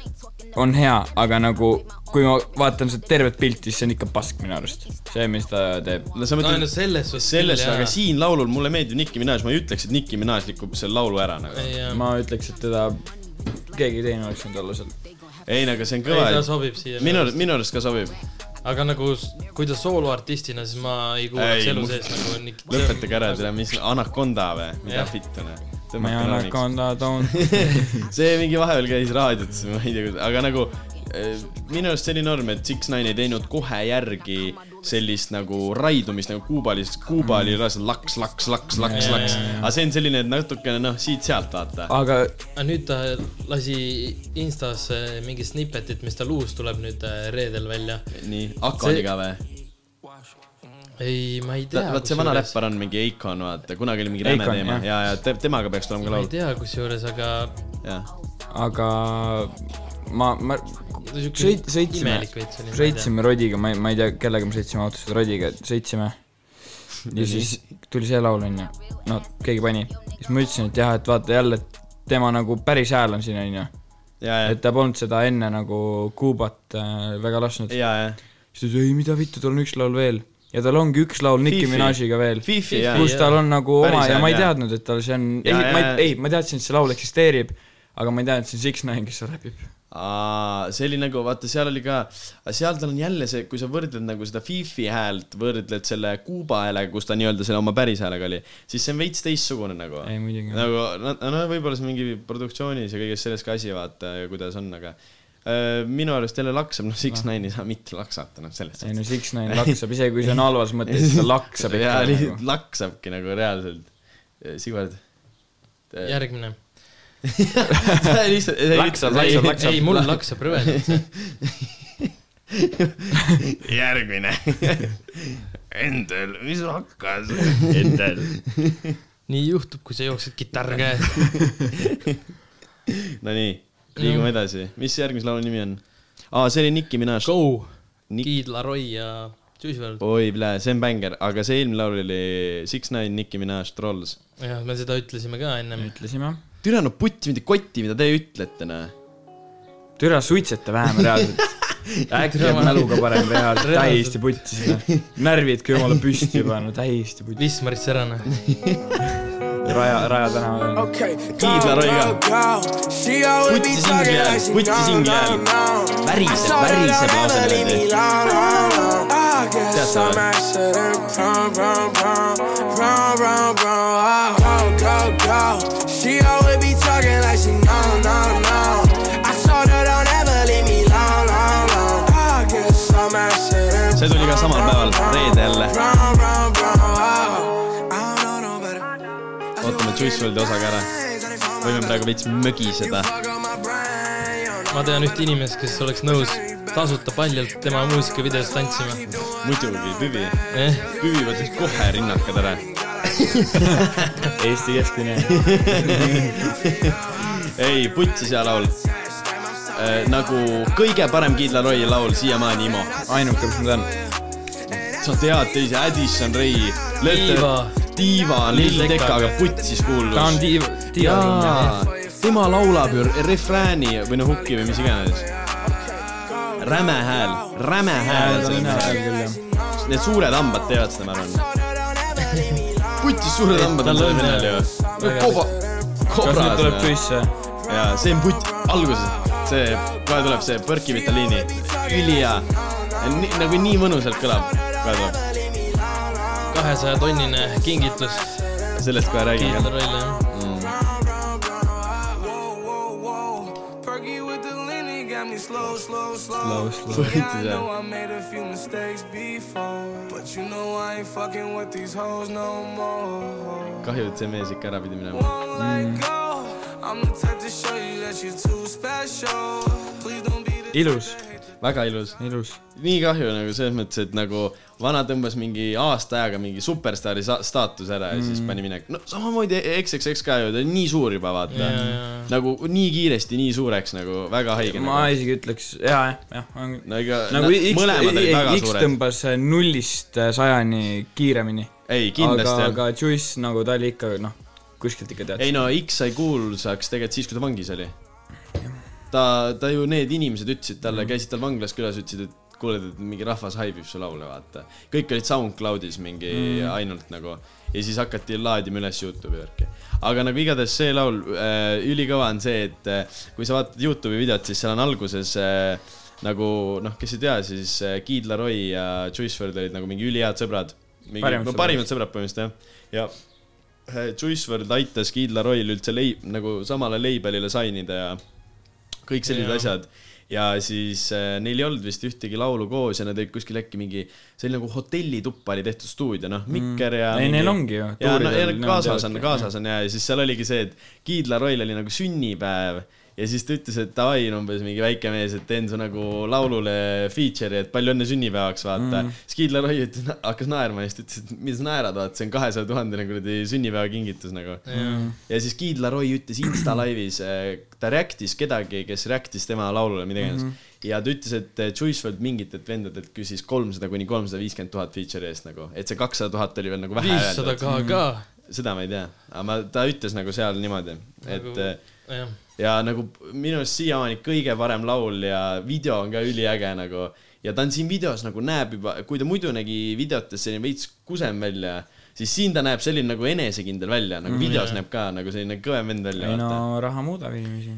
A: on hea , aga nagu kui ma vaatan seda tervet pilti , siis see on ikka pask minu arust . see , mis ta teeb .
B: no sa
C: no
B: mõtled
C: selles suhtes .
B: selles , aga . siin laulul mulle meeldib Nicki Minaj , ma ei ütleks , et Nicki Minaj rikub selle laulu ära nagu .
A: ma ütleks , et teda , keegi teine oleks võinud olla seal .
B: ei , no aga see on
C: ei , ta
B: kõva .
C: sobib siia .
B: minu , minu arust ka sobib .
C: aga nagu , kui ta sooloartistina , siis ma ei kuulaks
B: Ei,
C: elu
B: mu-
C: sees nagu Nick .
B: lõpetage ära , teil on mis , Anaconda või ? mida
C: Jah.
B: fitt on ?
A: ma ei anna konda toon .
B: see mingi vahepeal käis raadiotes , ma ei tea , aga nagu äh, minu arust selline norm , et Six-Nine ei teinud kohe järgi sellist nagu raidumist nagu Kuubalis , Kuuba
A: Mm.
B: oli reaalselt laks , laks , laks , laks , laks , aga see on selline et natukene noh , siit-sealt vaata .
A: aga
C: aga nüüd ta lasi Instas äh, mingi snippetit , mis tal uus tuleb nüüd äh, reedel välja .
B: nii , Akoniga või ?
C: ei , ma ei tea .
B: vaat see vana . räppar on mingi Akon , vaata , kunagi oli mingi räme
A: Akon,
B: teema
A: jah.
B: ja , ja te- temaga peaks tulema ka
C: ma ei
B: laul .
C: tea , kusjuures , aga
B: jah ,
A: aga ma , ma
C: Sihuke
A: sõit- , sõitsime
C: imelik veits oli, , ma ei
A: sõitsime Rodiga , ma ei , ma ei tea , kellega me sõitsime autos , Rodiga sõitsime . ja siis tuli see laul , onju . no keegi pani , siis ma ütlesin , et jah , et vaata jälle , et tema nagu päris hääl on siin , onju .
B: ja , ja
A: et , ta polnud seda enne nagu Kuubat äh, väga lasknud .
B: ja , ja .
A: siis ta ütles , ei mida vittu , tal on üks laul veel . ja tal ongi üks laul Nicki
B: Fifi.
A: Minajiga veel .
B: Fifi , ja ,
A: kus
C: jaa.
A: tal on nagu
B: Päris
A: oma ja
B: hea,
A: ma ei
B: jaa.
A: teadnud , et tal see on , ei
B: Jaa, ,
A: ma
B: jaa.
A: ei , ei , ma teadsin , et see laul eksisteerib , aga ma ei teadnud , et see on Six-Nine , kes seal räpib .
B: Aa, see oli nagu , vaata , seal oli ka , seal tal on jälle see , kui sa võrdled nagu seda Fifi häält , võrdled selle Kuuba häälega , kus ta nii-öelda selle oma päris häälega oli , siis see on veits teistsugune nagu .
A: Ei, muidugi.
B: nagu , no, no võib-olla see mingi produktsioonis ja kõiges selles ka asi , vaata , ja kuidas on , aga äh, minu arust jälle laksab , noh , Six-Nine ei saa mitte laksata , noh , selles
A: ei no Six-Nine laksab , isegi kui see on halvas mõttes , siis ta laksab ikka
B: jaa ,
A: nagu .
B: lihtsalt laksabki nagu reaalselt . Sigvard .
C: järgmine .
B: lihtsalt .
A: Laksab, laksab, laksab.
C: ei , mul laksab rõvedalt .
B: järgmine . Endel , mis hakkas ? Endel .
C: nii juhtub , kui sa jooksed kitarr käes .
B: Nonii , liigume edasi , mis järgmise laulu nimi on ? aa , see oli Nicki Minaj .
C: Go ,
B: Nick-
C: Kid Laroi ja Juice WRLD .
B: oi , see on bängar , aga see eelmine laul oli Six-Nine Nicki Minaj Trolls .
C: jah , me seda ütlesime ka ennem .
A: ütlesime .
B: türa no putt mind kotti , mida te ütlete noh .
A: türa suitseta vähem reaalselt . äkki
C: Türa,
A: on
C: ma-
A: mäluga parem teha , täiesti
C: Reaalselt.
A: putsi seda . närvidki jumala püsti juba , no täiesti putsi .
C: Wismar Serana .
A: Raja , Raja tänaval on .
D: Okay.
B: Kiidla roiga. Putsi sing jääb, putsi sing jääb. Väriseb, väriseb lausa niimoodi. Tead sa
D: Oh, She always be talking like she no, no, no. I told her don't ever leave me long, long, long. I guess I'm acting in
B: see tuli ka samal päeval , reedel .
D: wrong, wrong, wrong. Oh, I don't know no better.
B: ootame Juice WRLD osa ka ära . võime praegu veits mögiseda .
C: ma tean ühte inimest , kes oleks nõus tasuta paljalt tema muusikavideos tantsima .
B: muidugi , Püvi .
C: Eh,
B: Püvi võtaks kohe rinnakad ära .
A: Eesti keskmine .
B: ei , putsi see laul . nagu kõige parem Kid Laroi laul siiamaani , Imo .
A: ainuke , mis ma tean .
B: sa tead teisi , Addison Ray , Letter
C: Diva. ,
B: Diva , Lil
C: Lil
B: Tecca ,
C: Tecca.
B: aga putsis
A: ta on
B: kuulus .
A: tiiv , tiiv .
B: jaa , tema laulab ju refrääni või noh , hukki või mis iganes . räme hääl , räme hääl on sellel mehel . Need suured hambad teevad seda , ma arvan . putis suured hambad on
C: tal
B: sellel
C: on,
B: venel ju
C: jah. .
B: koba ,
A: kas nüüd tuleb
B: kobras .
A: Juice ?
B: jaa , see on put- , alguses , see , kohe tuleb see Põrki Vitaliini , ülihea . nagu nii mõnusalt kõlab , kohe tuleb ,
C: kahesaja tonnine kingitus
B: sellest kohe räägin
C: Kid
B: ka .
C: Laroile , jah .
D: Perky with the linen got me slow, slow, slow.
A: Slow, slow.
D: Yeah, I know I made a few mistakes before, but you know I ain't fucking with these hoes no more.
B: kahju , et see mees ikka ära pidi minema . Mm.
D: Won't let go. I'm the type to show you that you're too special. Please don't be the
A: ilus ,
B: väga ilus .
A: ilus .
B: nii kahju nagu selles mõttes , et nagu vana tõmbas mingi aasta ajaga mingi superstaari sa- staatus ära ja mm. siis pani minema . no samamoodi E- XXX ka ju , ta on nii suur juba vaata
C: Jaa,
B: yeah, .
C: jaa.
B: nagu nii kiiresti , nii suureks nagu väga haige .
A: ma
B: Nagu.
A: isegi ütleks , jaa , jah , jah .
B: no ega
A: nagu X ,
B: mõlemad olid väga
A: X
B: suured .
A: tõmbas nullist äh, sajani kiiremini .
B: ei ,
A: aga ,
B: kindlasti aga,
A: aga Juice nagu ta oli ikka noh , kuskilt ikka
B: aga... .
A: tead .
B: ei no X sai kuulsaks tegelikult siis , kui ta vangis oli . ta , ta ju , need inimesed ütlesid talle
A: Mhm.
B: mm. , käisid tal vanglas külas , ütlesid , et kuule , et mingi rahvas haibib su laule , vaata . kõik olid SoundCloudis mingi
A: Mhm.
B: mm. ainult nagu ja siis hakati laadima üles Youtube'i värki . aga nagu igatahes see laul äh, , ülikõva on see , et äh, kui sa vaatad Youtube'i videot , siis seal on alguses äh, nagu noh , kes ei tea , siis äh, Kid Laroi ja Juice WRLD olid nagu mingi ülihead sõbrad .
A: Parimad
B: no
A: sõbrad.
B: parimad sõbrad põhimõtteliselt jah . ja äh, Juice WRLD aitas Kid Laroil üldse leib- , nagu samale label'ile sign ida ja kõik sellised
C: Jaa.
B: asjad . ja siis äh, neil ei olnud vist ühtegi laulu koos ja nad olid kuskil äkki mingi , see oli nagu hotellituppa oli tehtud stuudio , noh , Mikker ja .
A: Mm. Ei, neil ongi ju,
B: ja no ja
A: tuuridel nemad
B: kaasas on ,
A: teevadki.
B: kaasas on ja , ja siis seal oligi see , et Kid Laroil oli nagu sünnipäev ja siis ta ütles , et davai , umbes mingi väike mees , et teen su nagu laulule feature'i , et palju õnne sünnipäevaks , vaata mm. . siis Kid Laroi ütles , hakkas naerma ja siis ta ütles , et mida sa naerad , vaata , see on kahesaja tuhandene kuradi sünnipäevakingitus nagu mm. . ja siis Kid Laroi ütles Insta live'is , ta react'is kedagi , kes react'is tema laulule , mida iganes mm . -hmm. ja ta ütles , et eh, Juice WRLD mingitelt vendadelt küsis kolmsada kuni kolmsada viiskümmend tuhat feature'i eest nagu , et see kakssada tuhat oli veel nagu vähe
C: viissada . KK ,
B: seda ma ei tea , aga ma , ta ütles nagu seal niimoodi , et
C: Nagu-
B: eh,
C: jah .
B: ja nagu minu arust siiamaani kõige parem laul ja video on ka üliäge nagu . ja ta on siin videos nagu näeb juba , kui ta muidu nägi videotes selline veits kusem välja , siis siin ta näeb selline nagu enesekindel välja , nagu videos
C: jah.
B: näeb ka nagu selline kõvem vend välja .
A: Mm, ei no raha muudab inimesi .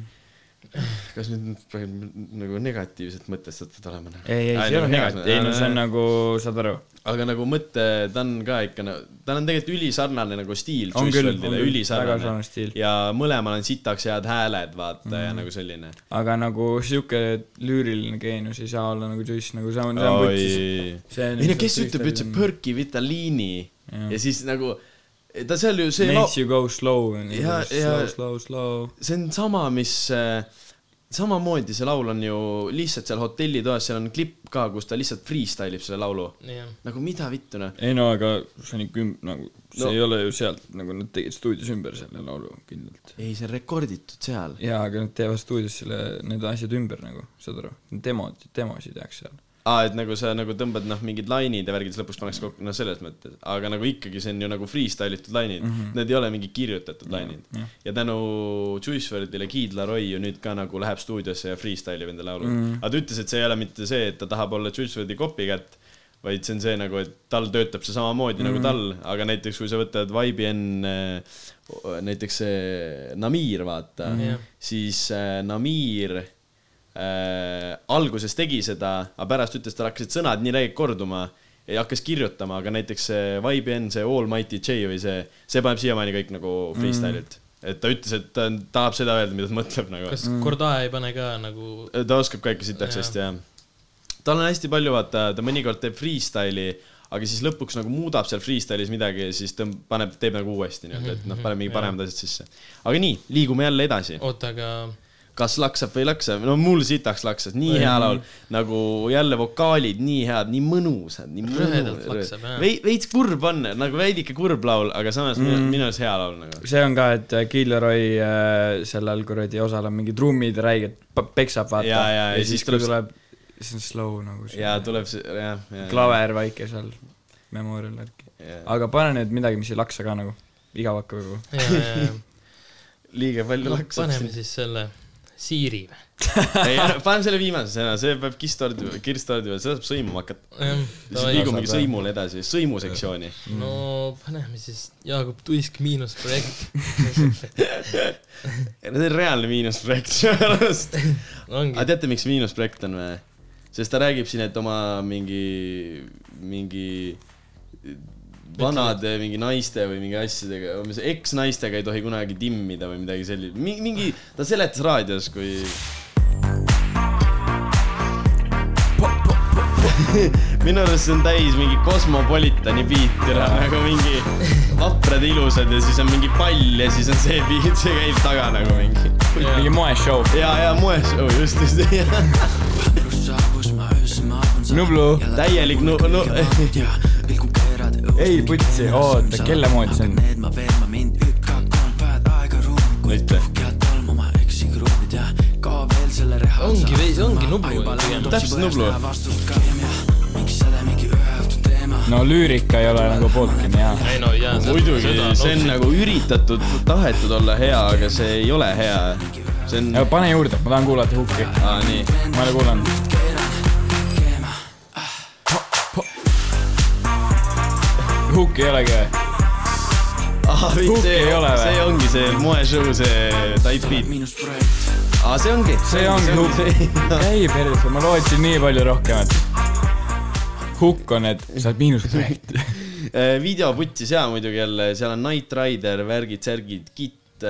B: kas nüüd praegu nagu negatiivselt mõtestatud olema ? nagu
A: ei , ei , see ei ole negatiivne , ei no see on nagu , saad aru .
B: aga nagu mõte , ta on ka ikka , tal on tegelikult ülisarnane nagu stiil .
A: On küll, on küll, väga
B: ülisarnane
A: sarnane stiil. . Mhm.
B: ja mõlemal on sitaks head hääled , vaata mm. , ja nagu selline .
A: aga nagu sihuke lüüriline geenius ei saa olla nagu Juice , nagu see on , see on võttis . See on
B: ei no kes
A: lihtsalt
B: ütleb üldse
A: selline-
B: Perki Vitaliini
A: Jah.
B: ja siis nagu , ta seal ju see laul
A: Makes , you go slow ,
B: Ja-
A: slow
B: ja- ,
A: slow , slow .
B: see on sama , mis äh, samamoodi see laul on ju lihtsalt seal hotellitoas , seal on klipp ka , kus ta lihtsalt freestyle ib selle laulu .
C: jah ,
B: nagu mida vittu noh .
A: ei no aga see on ikka üm- , nagu see
B: No.
A: no. ei ole ju sealt , nagu nad tegid stuudios ümber selle laulu kindlalt .
B: ei , see on rekorditud seal .
A: jaa , aga nad teevad stuudios selle , need asjad ümber nagu , saad aru , demod , demosid tehakse seal .
B: aa , et nagu sa nagu tõmbad noh , mingid lainid ja värgid , siis lõpuks pannakse kokku , no selles mõttes , aga nagu ikkagi see on ju nagu freestyle itud lainid mm , -hmm. need ei ole mingid kirjutatud lainid mm . -hmm. ja tänu Juice WRLDile Kid Laroi ju nüüd ka nagu läheb stuudiosse ja freestyle ib enda laulu mm . -hmm. aga ta ütles , et see ei ole mitte see , et ta tahab olla Juice WRLDi copycat , vaid see on see nagu , et tal töötab see samamoodi mm -hmm. nagu tal , aga näiteks kui sa võtad YBN , näiteks see Namir , vaata mm ,
C: Jah.
B: -hmm. siis äh, Namir äh, alguses tegi seda , aga pärast ütles , tal hakkasid sõnad nii räigelt korduma ja hakkas kirjutama , aga näiteks see YBN , see Almighty J või see , see paneb siiamaani kõik nagu freestyle'ilt mm. . et ta ütles , et ta on- tahab seda öelda , mida ta mõtleb nagu .
C: kas mm. Korda ei pane ka nagu ,
B: ta oskab ka ikka sitaks
C: Jaa.
B: hästi jah . tal on hästi palju , vaata , ta mõnikord teeb freestyle'i , aga siis lõpuks nagu muudab seal freestyle'is midagi ja siis ta paneb , teeb nagu uuesti nii-öelda , et noh , paneb mingi paremad asjad sisse . aga nii , liigume jälle edasi .
C: oota , aga
B: kas laksab või ei laksa , no mul sitaks laksas , nii
C: Mhm.
B: hea laul , nagu jälle vokaalid nii head , nii mõnusad , nii
C: Rõvedalt laksab, jah.
B: Vei- veits kurb on , nagu veidike kurb laul , aga samas
C: Mhm.
B: mm. minu arust hea laul nagu .
A: see on ka , et Killeroy äh, sellel kuradi osal on mingid trummid , räiged , peksab vaata .
B: Jaa, jaa,
A: ja siis tuleb , tuleb , siis on slow nagu see
B: ja tuleb see , jah , jah .
A: klaver väike seal , memorial värki .
B: klaver .
A: aga pane nüüd midagi , mis ei laksa ka nagu , igav hakkab juba .
C: ja , ja , ja
B: liiga palju
C: no,
B: laksab
C: paneme . siis selle siiri või ?
B: ei , paneme selle viimase sõna , see peab kistordi , kirstordi peal , seda saab sõimama hakata . siis
C: jah ,
B: liigumegi sõimule edasi , sõimusektsiooni .
C: no paneme siis Jaagup Tuisk miinusprojekt .
B: see on reaalne miinusprojekt minu arust . aga
C: ongi ,
B: teate , miks miinusprojekt on või ? sest ta räägib siin , et oma mingi , mingi vanade mingi naiste või mingi asjadega , eksnaistega ei tohi kunagi timmida või midagi sellist . mingi , ta seletas raadios , kui minu arust see on täis mingi kosmopolitani biiti , nagu mingi vaprad ilusad ja siis on mingi pall ja siis on see biit , see käib taga nagu mingi .
A: mingi moeshow .
B: ja , ja moes , just , just
A: Nublu ,
B: täielik nu- , nu- ,
A: ei putsi , oota , kelle moodi see on ?
B: mitte .
C: ongi veidi , ongi nublu ju pigem .
B: täpselt Nublu .
A: no lüürika ei ole nagu pooltki nii hea .
C: ei no jaa ,
B: muidugi , see on . nagu üritatud , tahetud olla hea , aga see ei ole hea . see on ,
A: pane juurde , ma tahan kuulata hukki .
B: aa nii .
A: ma ei ole kuulanud . hukki ei olegi või ?
B: ahah ,
A: Hukki
B: see
A: ei ole , või?
B: see ongi see moeshow , see type beat . aa , see ongi .
A: see ongi hukk . käi perse , ma lootsin nii palju rohkemat . hukk on , et sa oled miinusprojekt .
B: video putsis hea Äh, muidugi jälle , seal on Knight Rider , värgid , särgid , kitt ,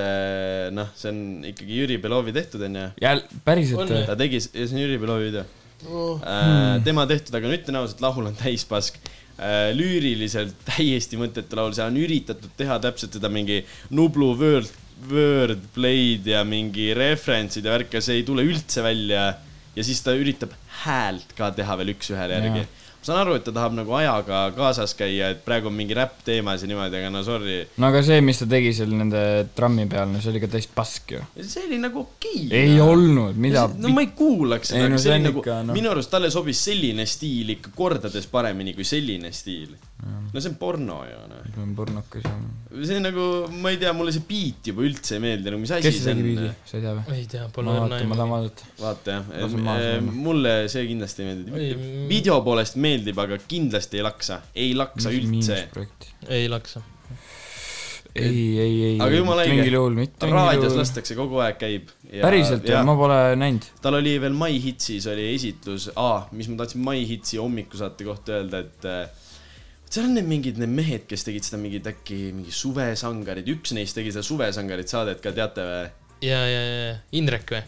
B: noh , see on ikkagi Jüri Belovi tehtud , onju
A: jälle , päriselt
C: On
A: või ?
B: ta tegi , see on Jüri Belovi video oh. . Äh, tema tehtud , aga no ütlen ausalt , laul on täis pask äh, . lüüriliselt täiesti mõttetu laul , seal on üritatud teha täpselt seda mingi Nublu World , Wordplay'd ja mingi reference'id ja värk ja see ei tule üldse välja . ja siis ta üritab häält ka teha veel üks-ühele järgi . ma saan aru , et ta tahab nagu ajaga kaasas käia , et praegu on mingi räpp teemas ja niimoodi , aga no sorry .
A: no aga see , mis ta tegi seal nende trammi peal , no see oli ka täis pask ju .
B: see oli nagu okei okay, .
A: ei olnud , mida
B: no ma ei kuulaks seda ,
A: Ei, no
B: aga see
A: see
B: oli
A: on
B: nagu
A: ikka, , noh.
B: minu arust talle sobis selline stiil ikka kordades paremini kui selline stiil . no see on porno ju noh .
A: mul on pornokas ja
B: see nagu , ma ei tea , mulle see beat juba üldse ei meeldi , nagu mis asi
A: kes
B: see
A: see tegi
B: on
A: biidi ?, sa ei tea või ?
C: ei tea ,
A: ma
C: pole veel
A: vaatan , ma
C: näinud .
A: tahan vaadata .
B: vaata
A: Las on maas noh.
B: jah ,
A: olema.
B: mulle see kindlasti ei
C: Ei,
B: meeldi
C: mm. .
B: video poolest meeldib , aga kindlasti ei laksa , ei laksa üldse .
A: miinusprojekt .
C: ei laksa .
A: ei , ei , ei ,
B: Aga jumala õige.
A: mingil juhul mitte .
B: raadios . lastakse kogu aeg , käib .
A: päriselt , ma pole näinud .
B: tal oli veel My Hitsis oli esitlus ah, , mis ma tahtsin My Hitsi hommikusaate kohta öelda , et äh, seal on need mingid need mehed , kes tegid seda mingid äkki mingi suvesangarid , üks neist tegi seda suvesangarid saadet ka , teate või ?
C: ja , ja , ja , Indrek või ?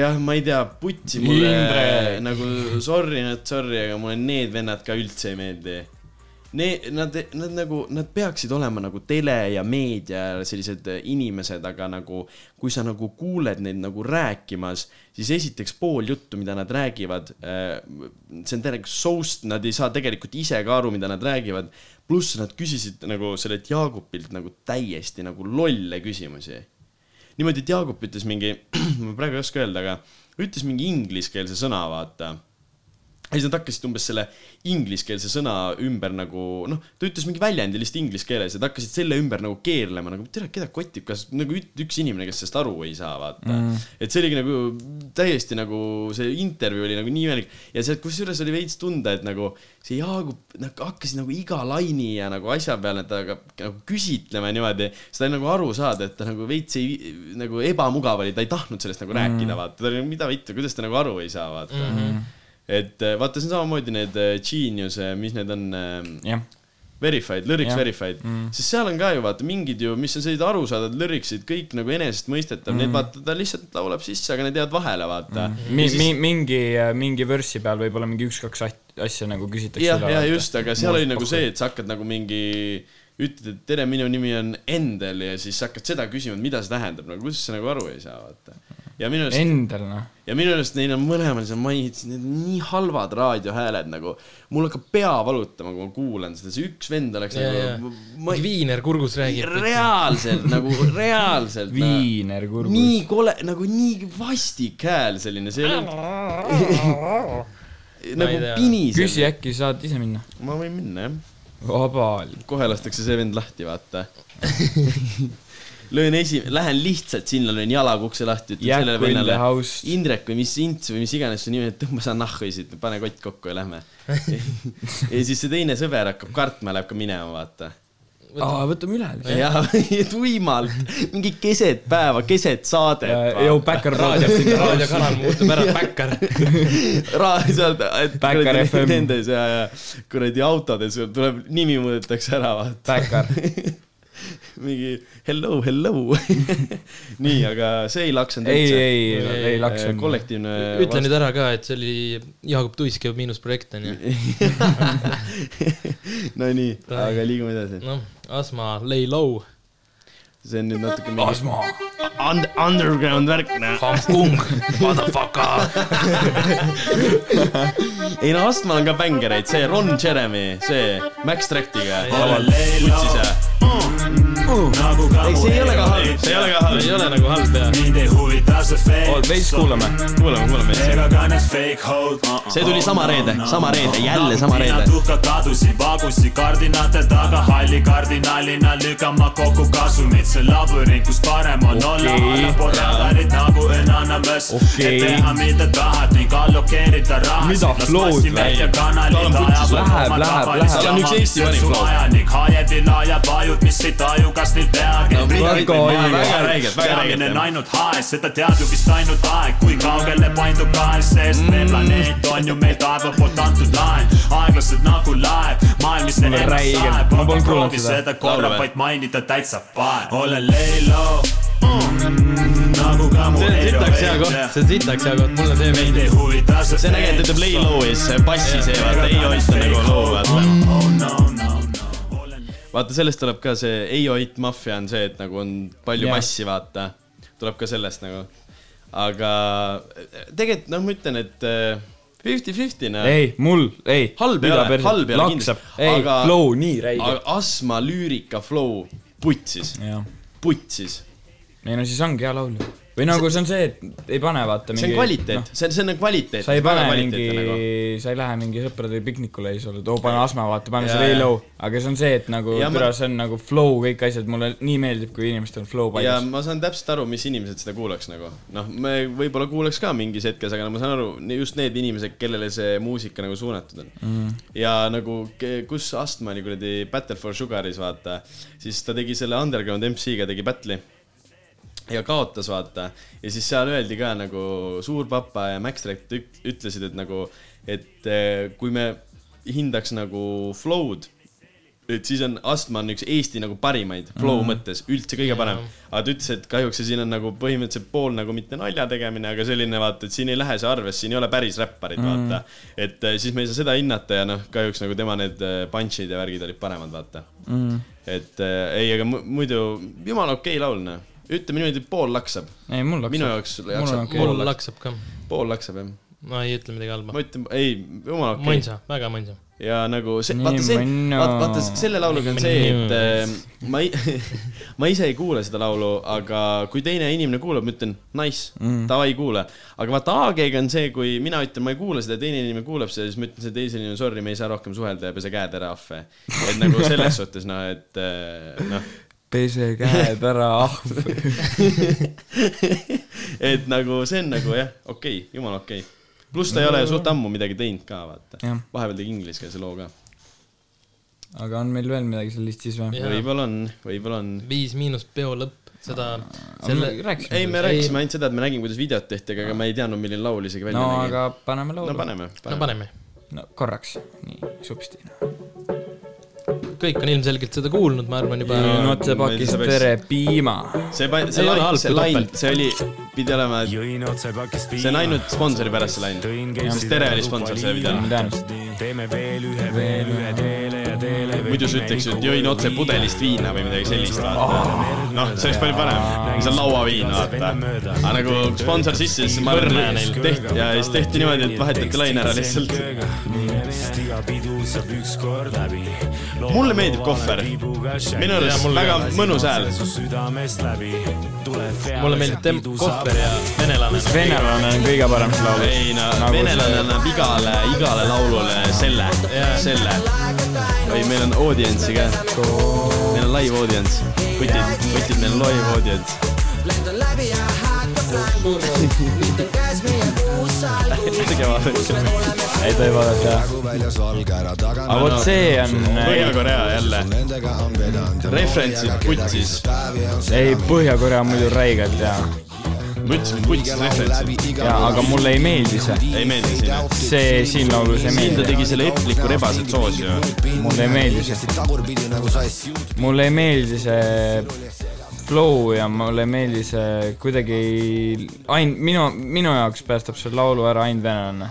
B: jah , ma ei tea , putsi mulle
A: Indrek.
B: nagu sorry , not sorry , aga mulle need vennad ka üldse ei meeldi . Need , nad , nad nagu , nad peaksid olema nagu tele ja meedia sellised inimesed , aga nagu kui sa nagu kuuled neid nagu rääkimas , siis esiteks pool juttu , mida nad räägivad , see on tegelikult soust , nad ei saa tegelikult ise ka aru , mida nad räägivad . pluss nad küsisid nagu sellelt Jaagupilt nagu täiesti nagu lolle küsimusi niimoodi , et Jaagup ütles mingi , ma praegu ei oska öelda , aga ütles mingi ingliskeelse sõna , vaata . ja siis nad hakkasid umbes selle ingliskeelse sõna ümber nagu noh , ta ütles mingi väljendi lihtsalt inglise keeles ja nad hakkasid selle ümber nagu keerlema nagu tere , keda kotib , kas nagu üt- üks inimene , kes sellest aru ei saa , vaata mm. . et see oligi nagu täiesti nagu see intervjuu oli nagu nii imelik ja sealt kusjuures oli veits tunda , et nagu see Jaagup nagu hakkas nagu iga laini ja nagu asja peale ta ka- nagu küsitlema niimoodi , seda oli nagu aru saada , et ta nagu veits ei nagu ebamugav oli , ta ei tahtnud sellest nagu mm. rääkida , vaata , ta oli nagu mida vittu , kuidas ta nagu aru ei saa , vaata mm . -hmm et eh, vaata , see on samamoodi need eh, Genius , mis need on ,
A: jah ,
B: Verified , Lyrics
A: Jah.
B: Verified mm. , sest seal on ka ju vaata mingid ju , mis on sellised arusaadavad lyricsid , kõik nagu enesestmõistetav mm. , need vaata , ta lihtsalt laulab sisse , aga need jäävad vahele , vaata mm. .
A: mi- , mi- , mingi , mingi vörssi peal võib-olla mingi üks-kaks at- asja nagu küsitakse
B: jah ,
A: üle
B: ja . just , aga seal oli nagu see , et sa hakkad nagu mingi , ütled , et tere , minu nimi on Endel ja siis sa hakkad seda küsima , et mida see tähendab , nagu kuidas sa nagu aru ei saa , vaata . ja minu arust ,
A: Endal noh ,
B: ja minu arust neil on mõlemal seal mainiti , need on nii halvad raadiohääled nagu , mul hakkab pea valutama , kui ma kuulan seda , see üks vend oleks
C: ja , ja ,
B: nagu , ma ei ,
C: Viiner kurgus räägib .
B: reaalselt nagu reaalselt .
A: viiner kurgus .
B: nii kole , nagu nii vastik hääl selline , see ei olnud
C: Ma ei
B: nagu
C: tea.
B: piniseb
A: küsi , äkki saad ise minna ?
B: ma võin minna jah
A: vabal .
B: kohe lastakse see vend lahti , vaata . löön esi- , lähen lihtsalt sinna , löön jalaga ukse lahti ,
A: Jack
B: ütlen sellele
A: in the
B: vennale
A: house. ,
B: Indrek või mis Ints või mis iganes su nimi on , tõmba sa nahhu siit , pane kott kokku ja lähme . ja siis see teine sõber hakkab kartma , läheb ka minema , vaata .
A: aa , võtame üle lihtsalt .
B: ja tuimalt , mingi keset päeva , keset saadet .
A: Yo , Backer podcast .
C: raadiokanal muutub ära , päkkar .
B: raha sealt , et
A: Backer
B: kuradi
A: FM.
B: nendes ja , ja kuradi autodes tuleb , nimi muudetakse ära , vaata .
A: Backer .
B: mingi hello , hello . nii , aga see ei laksunud
A: ei , ei , ei , ei laks
B: Eh, . kollektiivne .
C: ütle nüüd ära ka , et see oli Jaagup Tuisk ja miinusprojekt onju .
B: Nonii , aga liigume edasi .
C: noh , Asma , lay low .
B: see on nüüd natuke mingi
A: Asma .
B: und- underground värk , noh .
C: Kung , motherfucker .
B: ei no Astmal on ka bängereid , see Ron Jeremy , see Max Tractiga .
I: Nagu
B: ei , see ei ole ka halb , see ei ole ka
C: ei
B: halb .
C: ole nagu halb jah .
I: mind ei huvita see fake ,
A: veits kuulame .
B: kuulame , kuulame .
I: ega ka need fake hood .
B: see tuli sama reede , sama reede , jälle sama reede .
I: tuhka kadusin vagusi kardinate taga , halli kardinaalina lükkama kokku kasumid , see labürint , kus parem on okay. olla
A: Okei.
I: allapool radarit nagu Anonymous
A: Okei.
I: et teha mida tahad ning allokeerida raha .
A: Mida flow'd
I: välja
A: läheb?
I: kanalid
B: Tal on putsis
I: ajavad
A: läheb,
I: oma
A: läheb,
I: tavalist
B: läheb. Tal on üks
I: jama,
B: Eesti
I: mis
B: vanim
I: on su
B: flow.
I: aja ning hajevil ajab ajud , mis ei taju , kas neil peagi on
A: Marko Oilu.
B: Väga räigelt, väga räigelt,
I: peamine
B: jah.
I: on ainult haes , seda teab ju vist ainult aeg , kui kaugele paindub kaes , sest
B: Mm.
I: meie planeet on ju meil taeva poolt antud laen , aeglased nagu laev , maailm , mis
A: Mulle
I: neil ennast
A: räigelt.
I: saeb ,
A: Ma
I: aga
A: polnud kuulnud
I: proovi
A: seda.
I: seda korra
B: Laulame.
I: vaid mainida täitsa pae , ole leilo nagu ka mu
B: see on sitaks hea koht ,
I: Eero
C: see on sitaks hea koht , mulle see
I: mind
C: meeldib .
I: ei huvita see
B: see on äge , et ta ütleb lay low ja siis see bassi see vaata , ei hoita nagu low
I: Oh,
B: vaata . vaata , sellest tuleb ka see ei hoit maffia on see , et nagu on palju
A: Jah.
B: massi , vaata . tuleb ka sellest nagu . aga tegelikult noh , ma ütlen , et fifty-fifty noh .
A: ei , mul , ei .
B: halb ei ole , halb ei ole
A: kindlasti
B: kindlasti ..
A: ei , flow nii räige .
B: aga Asma lüürika flow putsis ,
A: jah ,
B: putsis .
A: ei no siis ongi hea laulja . või nagu see on see , et ei pane vaata mingi noh,
B: see on kvaliteet , see on , see on kvaliteet . nagu-
A: sa ei pane mingi , sa ei lähe mingi sõprade piknikule ja siis oled , oo pane Asma vaata , pane
B: Jaa,
A: selle
B: jaa.
A: low , aga see on see , et nagu
B: Ja ma-
A: türa , see on nagu flow kõik asjad , mulle nii meeldib , kui inimestel on flow
B: ja
A: paigas .
B: ma saan täpselt aru , mis inimesed seda kuulaks nagu . noh , me võib-olla kuulaks ka mingis hetkes , aga no ma saan aru , just need inimesed , kellele see muusika nagu suunatud on mm. . ja nagu , kus Astma oli kuradi Battle for Sugaris , vaata , siis ta tegi selle Underground MC-ga tegi battle'i ja kaotas , vaata . ja siis seal öeldi ka nagu Suurpapa ja Max Rekt ük- ütlesid , et nagu , et eh, kui me hindaks nagu flow'd , et siis on Astma on üks Eesti nagu parimaid flow
A: Mhm.
B: mm. mõttes , üldse kõige parem . aga ta ütles , et kahjuks see siin on nagu põhimõtteliselt pool nagu mitte nalja tegemine , aga selline vaata , et siin ei lähe see arvesse , siin ei ole päris räpparid
A: Mhm.
B: mm. , vaata . et eh, siis me ei saa seda hinnata ja noh , kahjuks nagu tema need eh, punch'id ja värgid olid paremad , vaata
A: Mhm.
B: mm. . et eh, ei , aga mu- muidu jumala okei laul , noh . ütleme niimoodi , pool laksab .
A: ei , mul
B: minu
A: hakkas .
B: jaoks
A: on
B: jaksab
A: okei.
B: pool
C: mul
B: laksab ,
C: laksab ka .
B: pool laksab jah .
C: ma ei ütle midagi halba
B: ma . ütlen , ei , jumala okei
C: mõnsa , väga mõnsa .
B: ja nagu see ,
A: Nii
B: vaata see ,
A: mõnnu.
B: vaata, vaata selle lauluga on see , et äh, ma ei , ma ise ei kuule seda laulu , aga kui teine inimene kuulab , ma ütlen nice mm. , davai kuule . aga vaata AG-ga on see , kui mina ütlen , ma ei kuule seda , teine inimene kuulab seda , siis ma ütlen see teise inimene , sorry , me ei saa rohkem suhelda ja pese käed ära , ahve . et nagu selles suhtes noh , et äh, noh ,
A: pese käed ära , ah. ahv .
B: et nagu see on nagu jah , okei okay, , jumala okei okay. pluss ta ei ole suht ammu midagi teinud ka , vaata
A: Jah. .
B: vahepeal tegi ingliskeelse loo ka .
A: aga on meil veel midagi seal listis või ?
C: Jah.
B: võib-olla on , võib-olla on
C: viis miinus peo lõpp , seda ,
A: Selle...
C: selle ,
A: rääkisime
B: ei , me
A: sellest.
B: rääkisime ainult seda , et me nägime , kuidas videot tehti , aga ega me ei teadnud , milline laul isegi välja
A: no
B: nägi .
A: aga paneme laulu
B: no . paneme,
C: no
B: paneme. .
C: paneme .
A: no korraks , nii supsti .
C: kõik on ilmselgelt seda kuulnud , ma arvan juba .
A: otsepakist tere , piima .
B: see pa- , see
C: Ei ole
B: lain ,
C: halb,
B: see
C: kui
B: lain ,
C: topelt.
B: see oli , pidi olema ,
G: jõin otsepakist piima
B: see on ainult sponsori pärast see lain . sest Tere oli sponsor selle videole .
G: teeme veel ühe , veel ühe teele ja teele
B: muidu sa ütleksid , et jõin otse pudelist viina või midagi sellist , vaata . noh , see oleks palju parem . see on lauaviin , vaata . aga nagu sponsor sisse , siis ma
C: Põrna
B: arvan ,
C: neil.
B: et tehti ja siis tehti niimoodi , et vahetati lain ära lihtsalt .
G: sest iga pidu saab ükskord läbi .
B: mulle meeldib kohver . minu arust väga mõnus hääl .
G: südamest läbi .
C: mulle meeldib tem- , kohver ja venelane .
A: venelane on kõige parem see laul .
B: ei no
A: Nagu
B: nagu venelane
A: see-
B: annab igale , igale laulule selle yeah. , selle . oi , meil on audientsi ka . meil on live audients , kutid , kutid , meil on live audients .
A: ei ta ei vaadata jah . aga vot see on ,
B: Põhja-Korea nagu jälle , referentsid putsis .
A: ei Põhja-Korea on muidu räigelt hea .
B: ma ütlesin , putsis referentsid .
A: jaa , aga mulle ei meeldi see .
B: ei meeldi sinna .
A: see siin laulus ei
B: siin ta
A: meeldi .
B: tegi selle epliku rebaset soosi ju .
A: mulle ei meeldi see . mulle ei meeldi see flow ja mulle ei meeldi see kuidagi ei- ain- , minu , minu jaoks päästab selle laulu ära ainult venelane .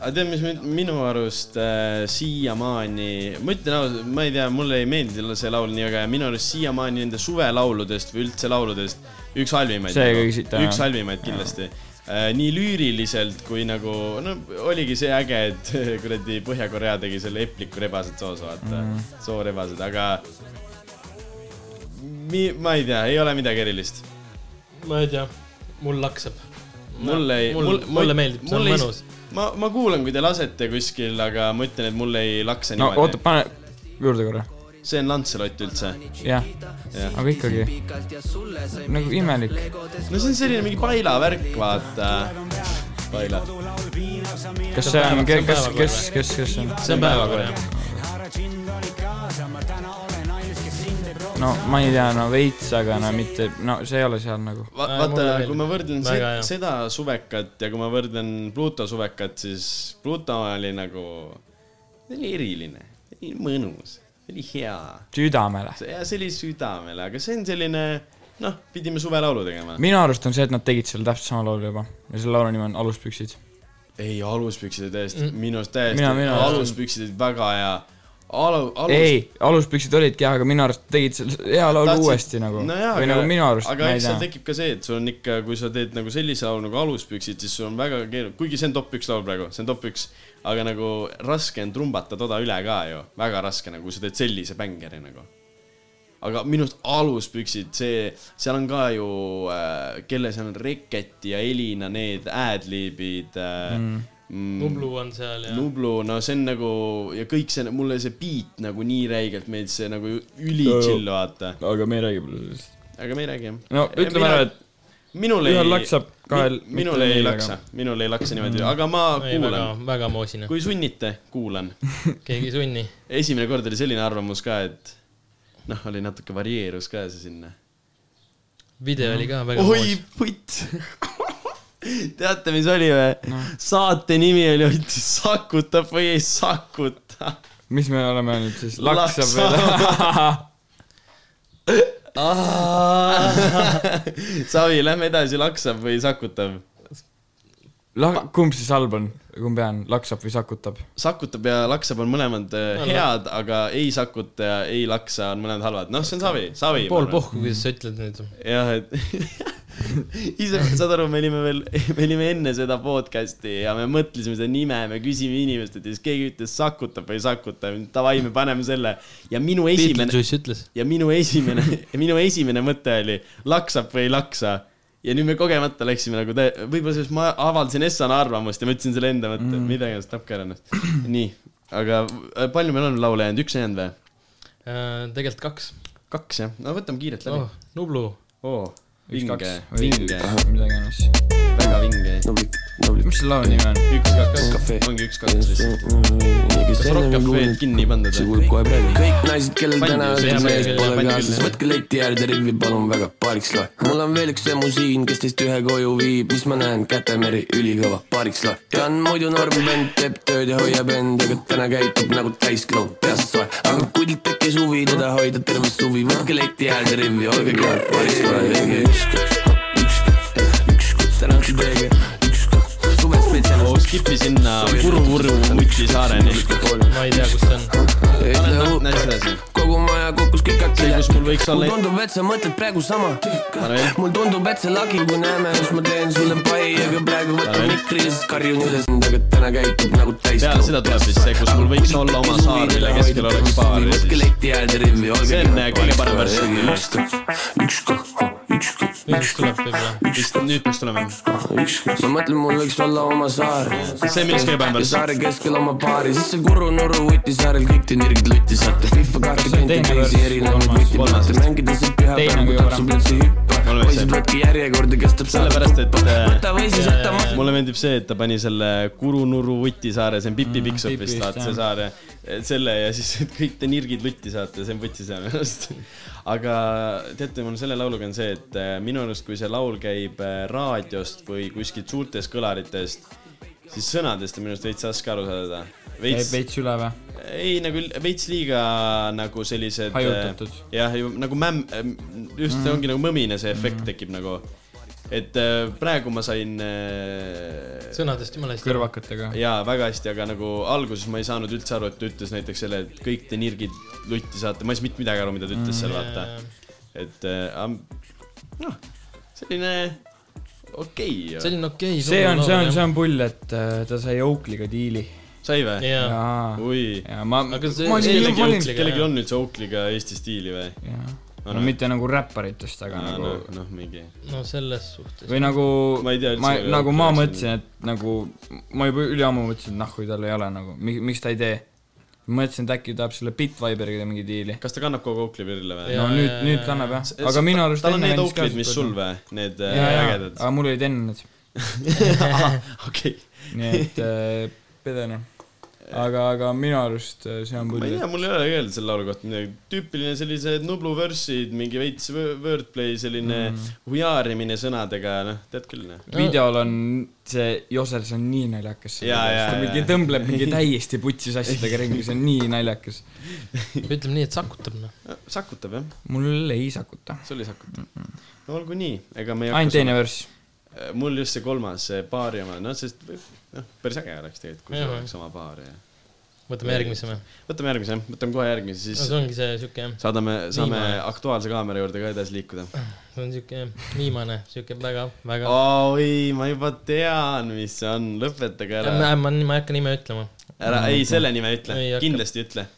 B: aga tead , mis mind- minu arust äh, siiamaani , ma ütlen ausalt , ma ei tea , mulle ei meeldi see laul nii väga ja minu arust siiamaani nende suvelauludest või üldse lauludest üks halvimaid .
A: See kõige sita,
B: üks
A: jah.
B: halvimaid kindlasti . nii lüüriliselt kui nagu , no oligi see äge , et kuradi Põhja-Korea tegi selle epliku rebased soos , vaata mm. , soorebased , aga mi- , ma ei tea , ei ole midagi erilist .
C: ma ei tea , mul laksab .
B: mulle ei ,
C: mul- mulle meeldib, see on mõnus. .
B: ma , ma kuulan , kui te lasete kuskil , aga ma ütlen , et mulle ei lakse
A: no oota ,
B: niimoodi .
A: pane juurde korra .
B: see on Lancelot üldse .
A: jah ,
B: Jah.
A: aga ikkagi nagu imelik .
B: no see on selline mingi paila värk , vaata . paila .
A: kas see on ,
C: See on
A: kes ,
C: päevakorra.
A: kes , kes , kes see on ?
C: see on päevakorra .
A: no ma ei tea , no veits , aga no mitte , no see ei ole seal nagu .
B: Va
C: Äh,
B: vaata
C: mulle ,
B: kui ma võrdlen
C: Väga
B: se
C: hea.
B: seda suvekat ja kui ma võrdlen Pluto suvekat , siis Pluto oli nagu , see oli eriline , see oli mõnus , see oli hea .
A: südamele .
B: see , see oli südamele , aga see on selline , noh , pidime suvelaulu tegema .
A: minu arust on see , et nad tegid selle täpselt sama laulu juba ja selle laulu nimi on Aluspüksid .
B: ei , aluspüksid olid täiesti mm. , minu arust täiesti
A: Mina- , mina-
B: aluspüksid olid väga hea . Alu- , alus .
A: ei , Aluspüksid olidki jah , aga minu arust tegid selle hea laulu
B: Tahtsid-
A: uuesti nagu
B: no jaa,
A: või nagu minu arust ,
B: aga
A: ma ei
B: eks seal
A: tea .
B: tekib ka see , et sul on ikka , kui sa teed nagu sellise laulu nagu Aluspüksid , siis sul on väga keeruline , kuigi see on top üks laul praegu , see on top üks , aga nagu raske on trumbata toda üle ka ju , väga raske nagu , kui sa teed sellise bängeri nagu . aga minu arust aluspüksid , see , seal on ka ju äh, , kelle seal on Reketi ja Elina , need ad-libid äh,
C: Mm.
B: mm,
C: Nublu on seal ja
B: Nublu , no see on nagu ja kõik see , mulle see beat nagu nii räigelt meeldis , see nagu üli chill vaata .
A: aga me ei räägi palju sellest .
B: aga me ei räägi jah .
A: No ütleme ära, et
B: minul ei .
A: ühel laksab, kahel
B: mi- minul
A: mitte
B: ei
A: nii väga.
B: laksa , minul ei laksa niimoodi ,
A: Mm.
B: aga ma
C: Ei, väga-
B: kuulan .
C: väga moosine.
B: kui sunnite , kuulan .
C: keegi ei sunni .
B: esimene kord oli selline arvamus ka , et noh , oli natuke varieerus ka see sinna .
C: video oli ka väga
B: Mm. oi
C: moos-
B: putt . teate , mis oli või no. ? saate nimi oli Ott sakutab või ei sakuta .
A: mis me oleme nüüd siis , laksab
B: Laksab.
A: veel ?
B: Savi , lähme edasi , laksab või sakutab ?
A: La- , kumb siis halb on , kumb hea on , laksab või sakutab ?
B: sakutab ja laksab on mõlemad äh, head , aga ei sakuta ja ei laksa on mõlemad halvad . noh , see on Savi , Savi .
C: pool pohku , kuidas sa ütled nüüd .
B: jah , et ise , saad aru , me olime veel , me olime enne seda podcast'i ja me mõtlesime seda nime , me küsime inimestelt ja siis keegi ütles sakutab või ei sakuta , davai , me paneme selle . ja minu esimene ,
C: Beetlejuice ütles .
B: ja minu esimene , minu esimene mõte oli laksab või ei laksa . ja nüüd me kogemata läksime nagu tä- , võib-olla sellest ma avaldasin Essana arvamust ja ma ütlesin selle enda mõtte mm. , mida iganes , tapke ära ennast . nii , aga äh, palju meil on laule jäänud , üks jäänud või ?
C: Äh, tegelikult kaks .
B: kaks jah , no võtame kiirelt läbi
C: oh , Nublu .
B: oo ,
A: Üks,
B: vinge
A: kaks , või
B: vinge ,
A: midagi iganes .
B: väga vinge .
A: mis selle laulu nimi on ?
B: üks , kaks , kaks , ongi üks , kaks
J: mm,
B: lihtsalt . kas Rock Cafe'd kinni ei pandud
J: see ? kulub kohe praegu . kõik naised , kellel
B: Pandi
J: täna
B: ju, see
J: õhtul
B: jääb
J: mees
B: meelde,
J: pole
B: pandi
J: kaasas ,
B: küll.
J: võtke leti äärde rivvi , palun väga , paariks loe . mul on veel üks emu siin , kes teist ühe koju viib , mis ma näen , Kätemeri ülikõva , paariks loe . ta on muidu norm vend , teeb tööd ja hoiab end , aga täna käitub nagu täiskloon , peast soe . aga kudilt tekkis huvi teda hoida terve suvi , võtke leti äärde rivvi , olge klaar , paariks loe . üks , kaks , üks , kaks , üks , kaks , tänan teiega , üks , kaks , suve spetsialist .
B: Skipi sinna Kuru-Vuru Mutisaareni .
C: ma ei tea , kus see on .
J: Tanel Tartna
B: edasi .
J: kogu maja kukkus kikaks
B: see , kus mul võiks
J: mulle
B: olla ,
J: tundub , et sa mõtled praegu sama .
B: Pane veel.
J: mul tundub , et sa lagid , kui näeme , siis ma teen sulle pai , aga praegu võtan mikri ja siis karjun üles , aga täna käitub nagu täis .
B: peale seda tuleb siis see , kus mul võiks olla oma saar , mille keskel oleks baar ja siis
J: leti äärde rivvi , olge .
B: see on kõige parem versioon .
J: üks , kaks , üks , kaks ,
C: üks
J: üks , kaks ,
C: tuleb võib-olla .
B: vist nüüd peaks tulema .
J: üks , kaks . Noh, ma mõtlen , mul võiks olla oma saar .
B: see on minu kõige parem
J: ja
B: versioon .
J: saare keskel oma baari , siis see Kuru Nuru võttis saarel kõik te nirgid lutti saate . FIFA kahtekümmend ja teisi erinevaid võtti saate . mängida siin
A: Teine on
J: pühapäeval , kui
A: kõige
J: taksub üldse hüppe .
B: Oleme
J: poisid ,
B: seal.
J: võtke järjekorda , kestab
B: sellepärast , et äh,
J: võta või siis jäta maha .
B: mulle meeldib see , et ta pani selle Kuru-Nuru Vutisaare , see on Pipi Pikksop vist
A: Pipist,
B: vaata see
A: jah.
B: saar ja selle ja siis et kõik te nirgid lutti saate , see on Vutisaar minu arust . aga teate , mul selle lauluga on see , et äh, minu arust , kui see laul käib äh, raadiost või kuskilt suurtest kõlaritest , siis sõnadest on minu arust veits raske aru saada . veits ,
A: veits üle või ?
B: ei nagu l- veits liiga nagu sellised .
A: Hajutatud. Mhm.
B: jah , nagu mämm , just mm. ongi nagu mõmine see efekt mm. tekib nagu . et äh, praegu ma sain äh,
C: sõnadest jumala hästi .
A: kõrvakatega .
B: jaa , väga hästi , aga nagu alguses ma ei saanud üldse aru , et ta ütles näiteks selle , et kõik te nirgid lutti saate , ma ei saanud mitte midagi aru , mida ta ütles mm,
C: Äh,
B: seal , vaata . et äh, noh , selline okei okay, ,
C: selline okei okay, .
A: see on , see on , see on pull , et äh, ta sai Oakliga diili .
B: sai või ?
C: jaa ,
A: jaa ,
B: oi ,
A: ma , ma
C: Aga see-
A: olin ,
C: kellegi
A: ma olin
C: Oakley'ga-
B: kellelgi on üldse Oakley'ga Eesti stiili või ?
A: jaa.
B: Ah,
A: no
B: no.
A: mitte nagu räpparitest , aga
B: noh
A: nagu ,
B: noh , mingi .
C: no selles suhtes .
A: või nagu
B: Ma ei tea üldse,
A: ma
B: kui
A: nagu ma
B: Oakley on
A: mõtlesin , et nagu ma juba üliammu mõtlesin , et noh , kui tal ei ole nagu , miks ta ei tee . mõtlesin , et äkki tahab selle Bitviberiga mingi diili .
B: kas ta kannab kogu Oakley virle või ?
A: no
C: Jaa,
A: nüüd
C: jaa, ,
A: nüüd
C: jaa,
A: kannab jah
B: S- ,
A: aga
B: s-
A: minu arust
B: tal on need
A: kandis ka
B: Oakley'd , mis
A: seda.
B: sul või , need äh,
A: jaa , jaa , Ah,
B: ägedad
A: aga . mul olid enne need ,
B: okei ,
A: nii et äh, peden jah . aga , aga minu arust äh, see on
B: ma ei
A: pull
B: tea ,, mul ei ole öelda selle laulu kohta midagi , tüüpiline sellised Nublu versid , mingi veits wor- wordplay , selline
A: Mm-hmm.
B: mm. hujaarimine sõnadega , noh , tead küll , noh .
A: videol on see Josel , see on nii naljakas .
B: Jaa, jaa,
A: ta
B: jaa.
A: mingi tõmbleb mingi täiesti putsis asjadega ringi , see on nii naljakas .
C: ütleme nii , et sakutab noh .
B: sakutab jah ,
A: mul ei sakuta .
B: sul ei sakuta mm . -mm. no olgu nii , ega me ei äh,
A: ainult Mm-hmm. teine . verss .
B: mul just see kolmas see baari oma , noh , sest , noh , päris äge oleks tegelikult , kui
C: Jaa.
B: sul oleks oma baar ja
C: võtame järgmise või ?
B: võtame järgmise , võtame kohe järgmise , siis
C: No see ongi see siuke jah.
B: saadame , saame
C: Viimane.
B: Aktuaalse kaamera juurde ka edasi liikuda .
C: see on siuke jah, viimane , siuke väga , väga oh, .
B: oi , ma juba tean , mis see on , lõpetage
C: Äh, ma ,
B: ära .
C: ma , ma ei hakka nime ütlema .
B: ära , ei , selle nime ütle
C: Ei , hakka.
B: kindlasti ütle .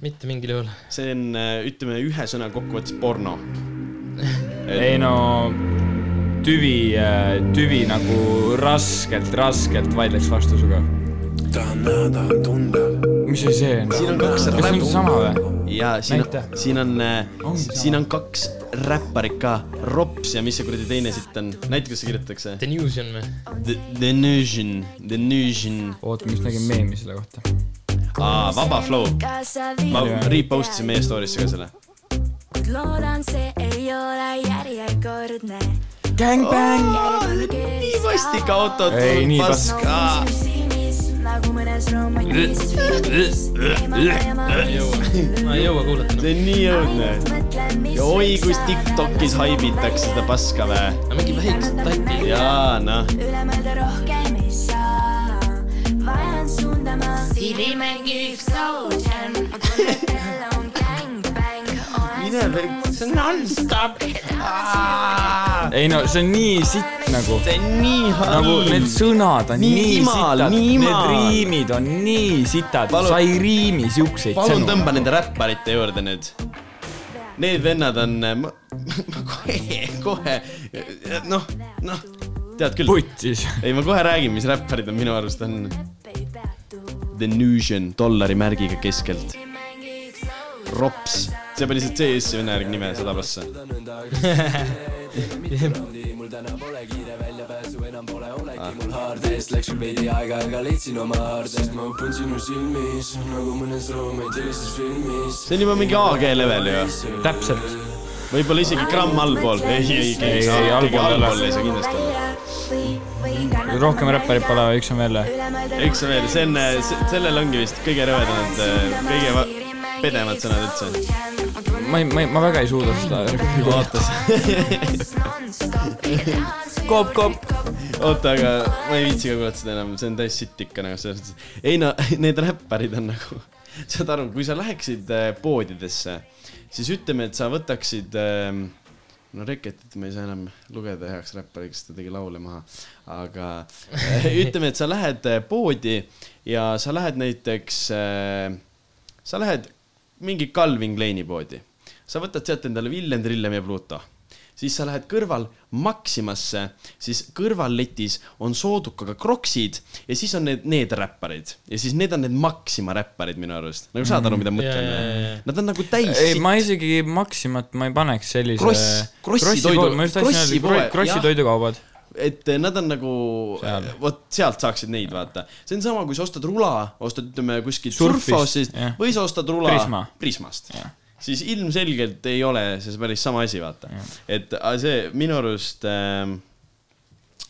C: mitte mingil juhul .
B: see on , ütleme ühe sõna kokkuvõttes porno .
A: ei no tüvi , tüvi nagu raskelt , raskelt vaidleks vastu sinuga . mis asi see on ?
B: siin on kaks
A: kas see on sama või ?
B: ja siin
A: Näita.
B: on , siin on , siin on kaks räpparit ka , Rops ja mis see kuradi teine siit on , näita , kuidas see kirjutatakse .
C: The News on või ?
B: The , The Nusion , The Nusion .
A: oota , ma just nägin meemi selle kohta .
B: aa , Vaba Flow . ma repost isin meie story'sse ka selle .
K: loodan , see ei ole järjekordne .
A: Gangbang .
K: nii
B: vastik auto
A: Ei, nii paska.
K: nagu mõnes romantilises filmis .
C: ma ei jõua kuulata .
B: see on nii õudne . ja oi , kus Tiktokis haibitakse seda paska vä .
C: aga mingi väiksed tatti .
B: jaa , noh .
K: üle mõelda rohkem ei saa , vajan suundama . Siri mängi üks ocean , ma tunnen , et jälle on gängbäng .
B: mine veel , see on nonstop .
A: ei no see on nii sitt nagu .
B: see on nii halb
A: nagu need sõnad on
B: Nii
A: nii, nii
B: imal,
A: sitad ,
B: nii
A: need
B: imal.
A: riimid on nii sitad ,
B: Palun-
A: sa ei riimi siukseid
B: palun
A: sõnu .
B: tõmba nende räpparite juurde nüüd . Need vennad on , ma ma kohe , kohe , noh , noh , tead küll .
A: putsis .
B: ei , ma kohe räägin , mis räpparid on minu arust on . The Nusion dollari märgiga keskelt . Rops , see pani lihtsalt CS ühe järgi nime sada prossa .
L: mul täna pole kiire väljapääsu , enam pole olegi mul haardest , läks sul veidi aega , aga leidsin oma haardest , ma upun sinu silmis nagu mõnes romantilises filmis .
B: see on juba mingi AG level ju .
A: täpselt .
B: võib-olla isegi gramm allpool . ei , ei ,
A: Ei,
B: ei ,
A: ei,
B: ei ,
A: allpool
B: allpool
A: ei ole.
B: ei saa kindlasti olla .
A: rohkem räpparid pole , üks on veel või ?
B: üks on veel , see on , sellel ongi vist kõige rõvedamad , kõige va- pedemad äh, sõnad üldse .
A: ma ei , ma ei , ma väga ei suuda seda .
B: ootas .
A: koop , koop .
B: oota , aga ma ei viitsi ka kuulata seda enam , see on täis sitt ikka nagu selles mõttes . ei no , need räpparid on nagu , saad aru , kui sa läheksid äh, poodidesse , siis ütleme , et sa võtaksid ähm, no Reketit me ei saa enam lugeda heaks räppariks , ta tegi laule maha . aga äh, ütleme , et sa lähed äh, poodi ja sa lähed näiteks äh, , sa lähed mingi Calvin Kleini poodi . sa võtad sealt endale Villem , Trillem ja Pluto . siis sa lähed kõrval Maximasse , siis kõrvalletis on soodukaga kroksid ja siis on need , need räpparid . ja siis need on need Maxima räpparid minu arust . nagu saad aru , mida ma
C: Mhm. Jaa, jaa,
B: mõtlen
C: jaa. ?
B: Nad on nagu täis
A: ei ,
B: sitt.
A: ma isegi Maximat ma ei paneks sellise .
B: Kross- Krossi toidu-
A: ma just tahtsin
B: Krossi
A: öelda
B: poe- ,
A: Krossi
B: jah.
A: toidukaubad .
B: et nad on nagu , vot sealt saaksid neid vaata . see on sama , kui sa ostad rula , ostad ütleme kuskilt
A: Surfist,
B: surfosist
A: jah.
B: või sa ostad rula
A: Prisma.
B: Prismast . siis ilmselgelt ei ole see päris sama asi , vaata . et a- see minu arust ähm,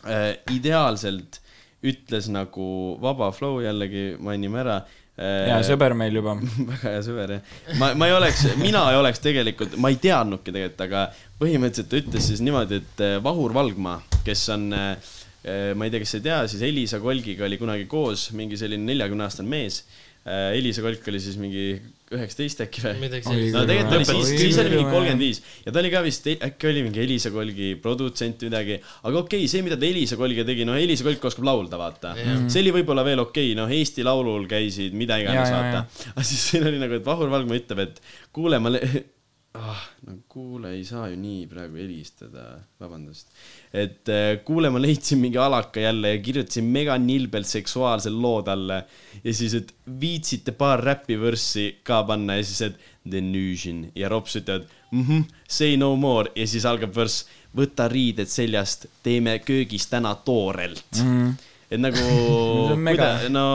B: äh, ideaalselt ütles nagu Vaba Flow jällegi mainime ära äh,
A: hea sõber meil juba .
B: väga hea sõber jah . ma , ma ei oleks , mina ei oleks tegelikult , ma ei teadnudki tegelikult , aga põhimõtteliselt ta ütles siis niimoodi , et eh, Vahur Valgma , kes on , ma ei tea , kes ei tea , siis Elisa Kolgiga oli kunagi koos mingi selline neljakümneaastane mees . Elisa Kolk oli siis mingi üheksateist äkki või ?
C: Midagi sellist.
B: no tegelikult ta oli
C: Lõpetas
B: siis , siis oli mingi
A: kirjutama, jah.
B: kolmkümmend viis ja ta oli ka vist , äkki oli mingi Elisa Kolgi produtsent või midagi , aga okei okay, , see , mida ta Elisa Kolgiga tegi , noh , Elisa Kolk oskab laulda , vaata
C: Jah.
B: see oli võib-olla veel okei okay, , noh , Eesti Laulul käisid , mida iganes ,
A: Ja, ja,
B: vaata . aga siis siin oli nagu , et Vahur Valgma ütleb , et kuule , ma le- ah, , no kuule , ei saa ju nii praegu helistada , vabandust . et eh, kuule , ma leidsin mingi alaka jälle ja kirjutasin mega nilbelt seksuaalse loo talle . ja siis , et viitsite paar räpivõrssi ka panna ja siis , et the nusion ja Rops ütlevad mhmh , say no more ja siis algab värss , võta riided seljast , teeme köögis täna toorelt
A: Mhm.
B: et nagu
A: See on mega.
B: kuida- no ,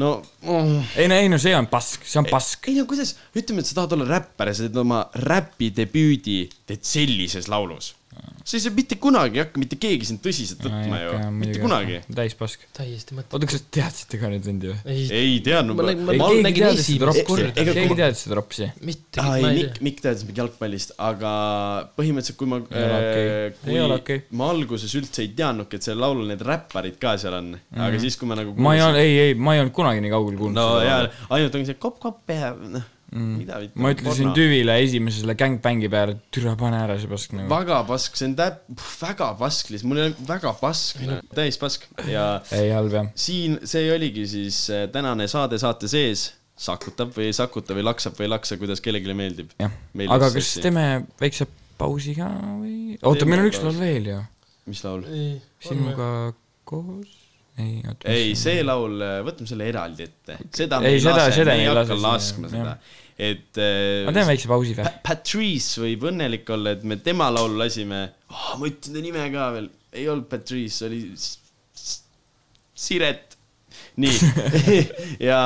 B: no oh. .
A: ei no , ei no see on pask , see on pask .
B: ei no kuidas , ütleme , et sa tahad olla räppar ja sa teed oma räpi debüüdi , teed sellises laulus . sa ei saa mitte kunagi ei hakka mitte keegi sind tõsiselt võtma ju , mitte kunagi .
A: täis pask .
C: täiesti mõttetu .
A: oota , kas te teadsite ka neid vendi või ?
C: Ei.
B: ei teadnud .
C: Ma nägin- ma- ma nägin esimest korda.
A: keegi teadis seda ropsi ?
C: Mitte
B: ah, . ei ,
C: ma ei
B: Mikk , Mikk teadis mingi jalgpallist , aga põhimõtteliselt , kui ma ,
A: Ei ole okei.
B: kui
A: Ei ole okei.
B: ma alguses üldse ei teadnudki , et seal laulul need räpparid ka seal on mm , -hmm. aga siis , kui ma nagu
A: Mhm. ma ei olnud , ei , ei , ma ei olnud kunagi nii kaugel kuulnud
B: no jaa , ainult ongi see kopp-kopp ja noh mm. , mida vittu .
A: Mhm. ma ütlesin . tüvile esimesele gängbängi peale , et türa , pane ära see pask nagu .
B: väga pask , see on täp- , väga pasklis , mul oli väga pask , täis pask ja
A: ei , halb jah .
B: siin see oligi siis äh, tänane saade saate sees , sakutab või ei sakuta või laksab või ei laksa , kuidas kellelegi meeldib .
A: aga kas teeme väikse pausi ka või ? oota , meil on üks laul veel ju .
B: mis laul ?
A: sinuga koos ? ei , oota .
B: ei , see laul , võtame selle eraldi ette . seda me
A: Ei,
B: ei
A: seda-
B: lase ,
A: seda
B: me ei
A: ei lase
B: hakka
A: sinna,
B: laskma seda
A: jah. .
B: et . äh,
A: ma teen väikse pausi või ?
B: Patrice võib õnnelik olla , et me tema laulu lasime oh, . ma ütlen ta nime ka veel , ei olnud Patrice , see oli S- S- Siret . nii ja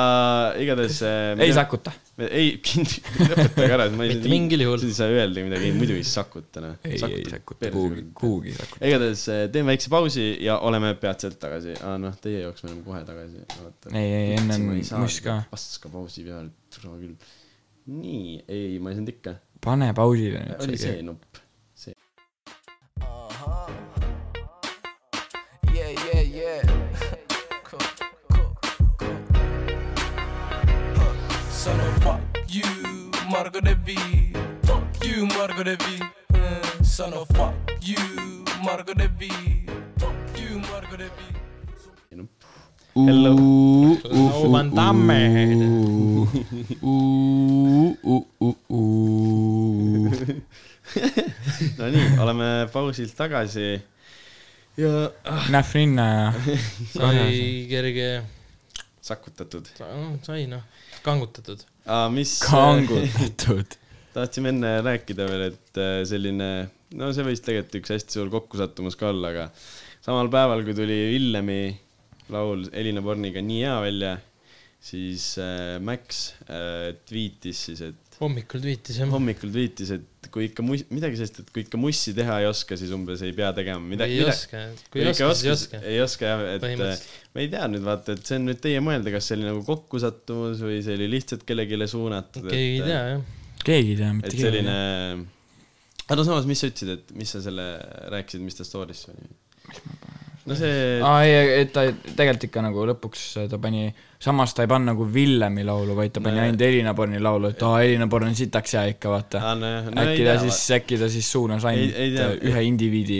B: igatahes .
A: Ei sakuta. .
B: ei , lõpetage ära , ma ei .
C: Mitte mingil juhul.
B: siis ei saa öelda midagi , muidu ei sakuta noh .
A: ei , ei sakuta kuhugi , kuhugi ei sakuta .
B: igatahes eh, teeme väikse pausi ja oleme peatselt tagasi ah, . noh , teie jaoks me oleme kohe tagasi .
A: Ei, ei, enne on muss ka.
B: paska pausi peal , tule küll . nii , ei , ma ei saanud ikka .
A: pane pausile
B: oli
A: nüüd
B: see
A: see .
B: nupp , see .
D: Yeah, yeah, yeah. Cool, cool, cool. Huh. Son of fuck you, Margot Debbie. Fuck you, Margot Debbie. Uh, Son of fuck you, Margot Debbie. Fuck you, Margot Debbie.
B: Hello .
C: Van Damme.
B: no nii , oleme pausilt tagasi . ja ah,
A: Nähv ninna ja .
C: sai kerge ,
B: sakutatud .
C: sai noh , kangutatud .
B: mis .
A: kangutatud .
B: tahtsime enne rääkida veel , et äh, selline , no see võis tegelikult üks hästi suur kokkusattumus ka olla , aga samal päeval , kui tuli Villemi laul Elina Borniga Nii hea välja , siis äh, Max äh, tweetis siis , et
C: hommikul tweetis jah .
B: hommikul tweetis , et kui ikka muss- , midagi sellist , et kui ikka mussi teha ei oska , siis umbes ei pea tegema midagi .
C: Ei oska, et kui ei oska, siis ei oska.
B: ei oska jah , et
C: Põhimõtteliselt.
B: äh, ma ei tea nüüd vaata , et see on nüüd teie mõelda , kas see oli nagu kokkusattumus või see oli lihtsalt kellelegi suunatud .
C: keegi ei tea jah .
A: keegi ei tea , mitte
B: et
A: keegi ei
B: selline
A: tea .,
B: aga no samas , mis sa ütlesid , et mis sa selle rääkisid , mis ta story'sse oli ? no see
A: aa
C: Ah,
A: ei , et ta tegelikult ikka nagu lõpuks ta pani , samas ta ei pannud nagu Villemi laulu , vaid ta pani
B: Nojah.
A: ainult Elina Borni laulu , et aa , Elina Born on sitaks hea ikka , vaata
B: Aa, nojah. No ei
A: äkki ta
B: tea,
A: siis , äkki ta siis suunas
B: Ei-
A: ainult
B: ei tea.
A: äh, ühe indiviidi ,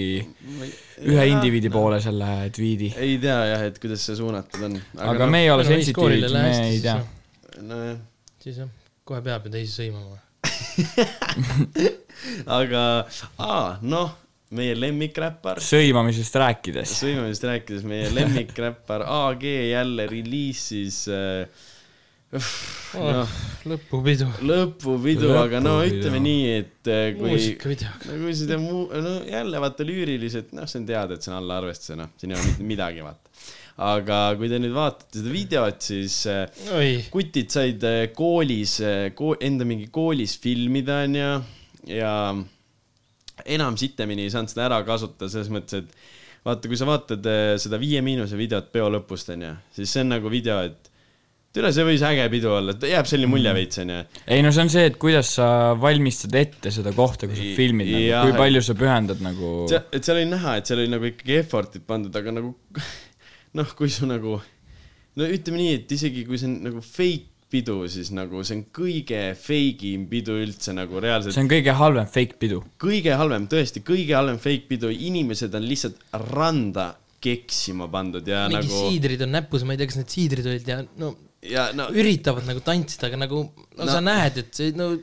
B: Ma ei-
A: ühe
B: jaa,
A: indiviidi poole selle tweet'i .
B: ei tea jah , et kuidas see suunatud on .
A: aga me ei ole
C: no ei, skoolile
A: sensitiivsed ,
C: lähe
A: me
C: hästi,
A: ei
C: siis
A: tea
C: noh. .
B: nojah ,
C: siis jah , kohe peab ju teisi sõimama .
B: aga aa , noh , meie lemmikräppar ,
A: sõimamisest rääkides ,
B: sõimamist rääkides , meie lemmikräppar AG jälle reliisis äh, noh ,
C: lõpupidu .
B: lõpupidu , aga no
A: Lõpupidu.
B: ütleme nii , et äh, kui
C: muusikavideoga .
B: no kui seda muu , no jälle vaata lüüriliselt , noh , see on teada , et see on allaarvestuse , noh , siin ei ole mitte midagi , vaata . aga kui te nüüd vaatate seda videot , siis äh,
C: oi ,
B: kutid said äh, koolis ko , enda mingi koolis filmida , onju , ja enam sitemini ei saanud seda ära kasutada , selles mõttes , et vaata , kui sa vaatad äh, seda Viie Miinuse videot peo lõpust , onju , siis see on nagu video , et tule , see võis äge pidu olla , jääb selline
A: Mhm.
B: mulje veits , onju
A: ei no see on see , et kuidas sa valmistad ette seda kohta , kus sa
B: I-
A: filmid
B: jah,
A: nagu ,
B: et-
A: kui palju sa pühendad nagu
B: see , et seal oli näha , et seal oli nagu ikkagi effort'id pandud , aga nagu noh , kui su nagu no ütleme nii , et isegi kui see on nagu fake pidu , siis nagu see on kõige fake im pidu üldse nagu reaalselt
A: see on kõige halvem fake pidu .
B: kõige halvem , tõesti kõige halvem fake pidu , inimesed on lihtsalt randa keksima pandud ja
C: mingi
B: nagu
C: siidrid on näpus , ma ei tea , kas need siidrid olid ja no
B: ja no
C: üritavad nagu tantsida , aga nagu no,
B: No-
C: sa näed , et see no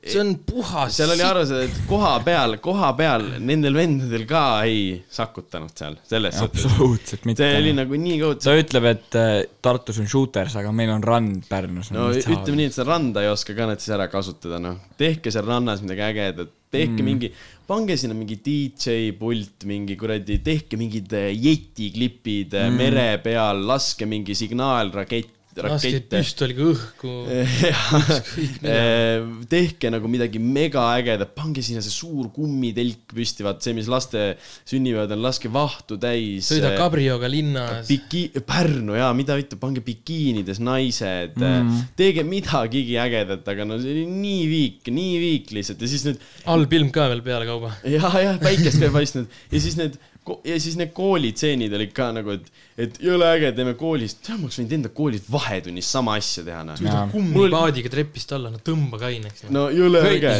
C: see on puhas .
B: seal oli aru saada , et koha peal , koha peal nendel vendadel ka ei sakutanud seal , selles suhtes .
A: absoluutselt mitte .
B: see oli nagu nii kohutav .
A: ta ütleb , et äh, Tartus on shooters , aga meil on rand Pärnus .
B: no ütleme nii , et seda randa ei oska ka nad siis ära kasutada , noh . tehke seal rannas midagi ägedat , tehke mm. mingi , pange sinna mingi DJ pult , mingi kuradi , äh, tehke mingid eh, jeti klipid mm. mere peal , laske mingi signaalrakett
C: laske
B: rakette .
C: püstoliga õhku
B: Eh,
C: Ükskõik mida.
B: tehke nagu midagi megaägedat , pange sinna see suur kummitelk püsti , vaat see , mis laste sünnipäevad on , laske vahtu täis .
C: sõida kabrioga linnas .
B: Biki- , Pärnu jaa , mida vittu , pange bikiinides naised
C: Mm.
B: mm. , tehke midagigi ägedat , aga no see oli nii viik , nii viik lihtsalt ja siis need .
C: halb ilm ka veel pealekauba .
B: ja , ja päikest ka ei paistnud ja siis need ko- ja siis need koolitseenid olid ka nagu , et , et jõle äge , teeme koolis , tead , ma oleks võinud enda koolis vahetunnis sama asja teha ,
C: sõida
B: noh .
C: kummi paadiga trepist alla , no tõmba kaineks .
B: no jõle äge ,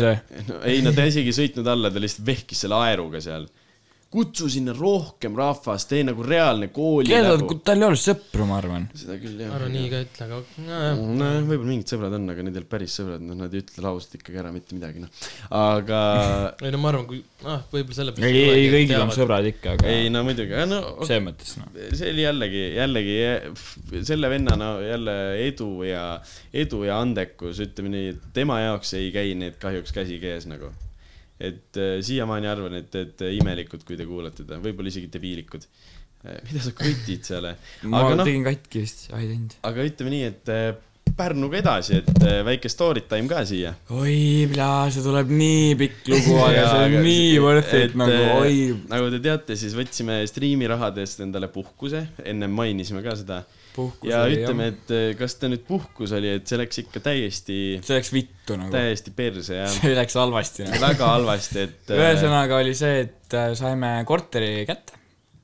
B: no, ei no ta isegi ei sõitnud alla , ta lihtsalt vehkis selle aeruga seal . kutsu sinna rohkem rahvast , tee nagu reaalne kooli .
A: kellel , tal ei olnud sõpru , ma arvan .
B: seda küll jah .
C: ma arvan , nii ka ei ütle , aga nojah.
B: nojah , võib-olla mingid sõbrad on , aga need ei ole päris sõbrad , noh , nad ei ütle lauset ikkagi ära mitte midagi , noh . aga
C: ei no ma arvan , kui , ah , võib-olla selle
A: ei , ei kõigil on sõbrad ikka , aga
B: ei no muidugi , no
A: selles mõttes noh .
B: see oli jällegi , jällegi pff, selle vennana jälle edu ja , edu ja andekus , ütleme nii , et tema jaoks ei käi need kahjuks käsikäes nagu . et äh, siiamaani arvan , et , et imelikud , kui te kuulate teda , võib-olla isegi debiilikud . mida sa kõtid seal ?
A: ma
B: noh-
A: tegin katki vist , ai teinud .
B: aga ütleme nii , et äh, Pärnuga edasi , et äh, väike story time ka siia .
A: oi , see tuleb nii pikk lugu , aga see on nii worth it nagu , oi .
B: nagu te teate , siis võtsime striimi rahadest endale puhkuse , ennem mainisime ka seda .
A: Puhkus
B: ja
A: oli,
B: ütleme ,
A: jah.
B: et äh, kas ta nüüd puhkus oli , et see läks ikka täiesti .
A: see läks vittu nagu.
B: täiesti perse jah .
A: see läks halvasti .
B: väga halvasti , et . eh,
A: ühesõnaga oli see , et äh, saime korteri kätte ,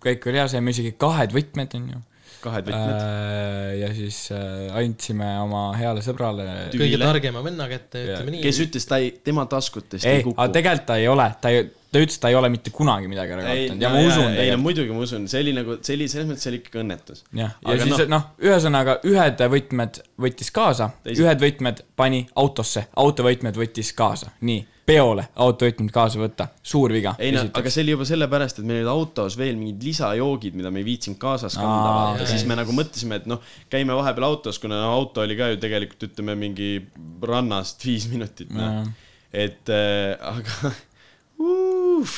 A: kõik oli hea , saime isegi kahed võtmed , onju .
B: kahed
A: äh,
B: võtmed. .
A: ja siis äh, andsime oma heale sõbrale .
C: kõige targema venna kätte , ütleme nii .
B: kes ütles , ta ei , tema taskutest
A: ei
B: ei , kuku
A: Eh, aga . tegelikult ta ei ole , ta ei , ta ütles , ta ei ole mitte kunagi midagi ära
B: ei ,
A: kaotanud ja ma usun
B: ei no muidugi ma usun , see oli nagu , see oli selles mõttes , see oli ikkagi õnnetus .
A: jah , ja siis noh no, , ühesõnaga ühed võtmed võttis kaasa ,
B: Teised-
A: ühed võtmed pani autosse , autovõtmed võttis kaasa , nii , peole autovõtmed kaasa võtta , suur viga .
B: ei no , aga see oli juba sellepärast , et meil olid autos veel mingid lisajoogid , mida me ei viitsinud kaasas kanda ,
A: Aa,
B: vaata ,
A: okei.
B: siis me nagu mõtlesime , et noh , käime vahepeal autos , kuna no, auto oli ka ju tegelikult ütleme mingi rannast viis minutit , noh
A: Nojah. .
B: et äh, aga uuf,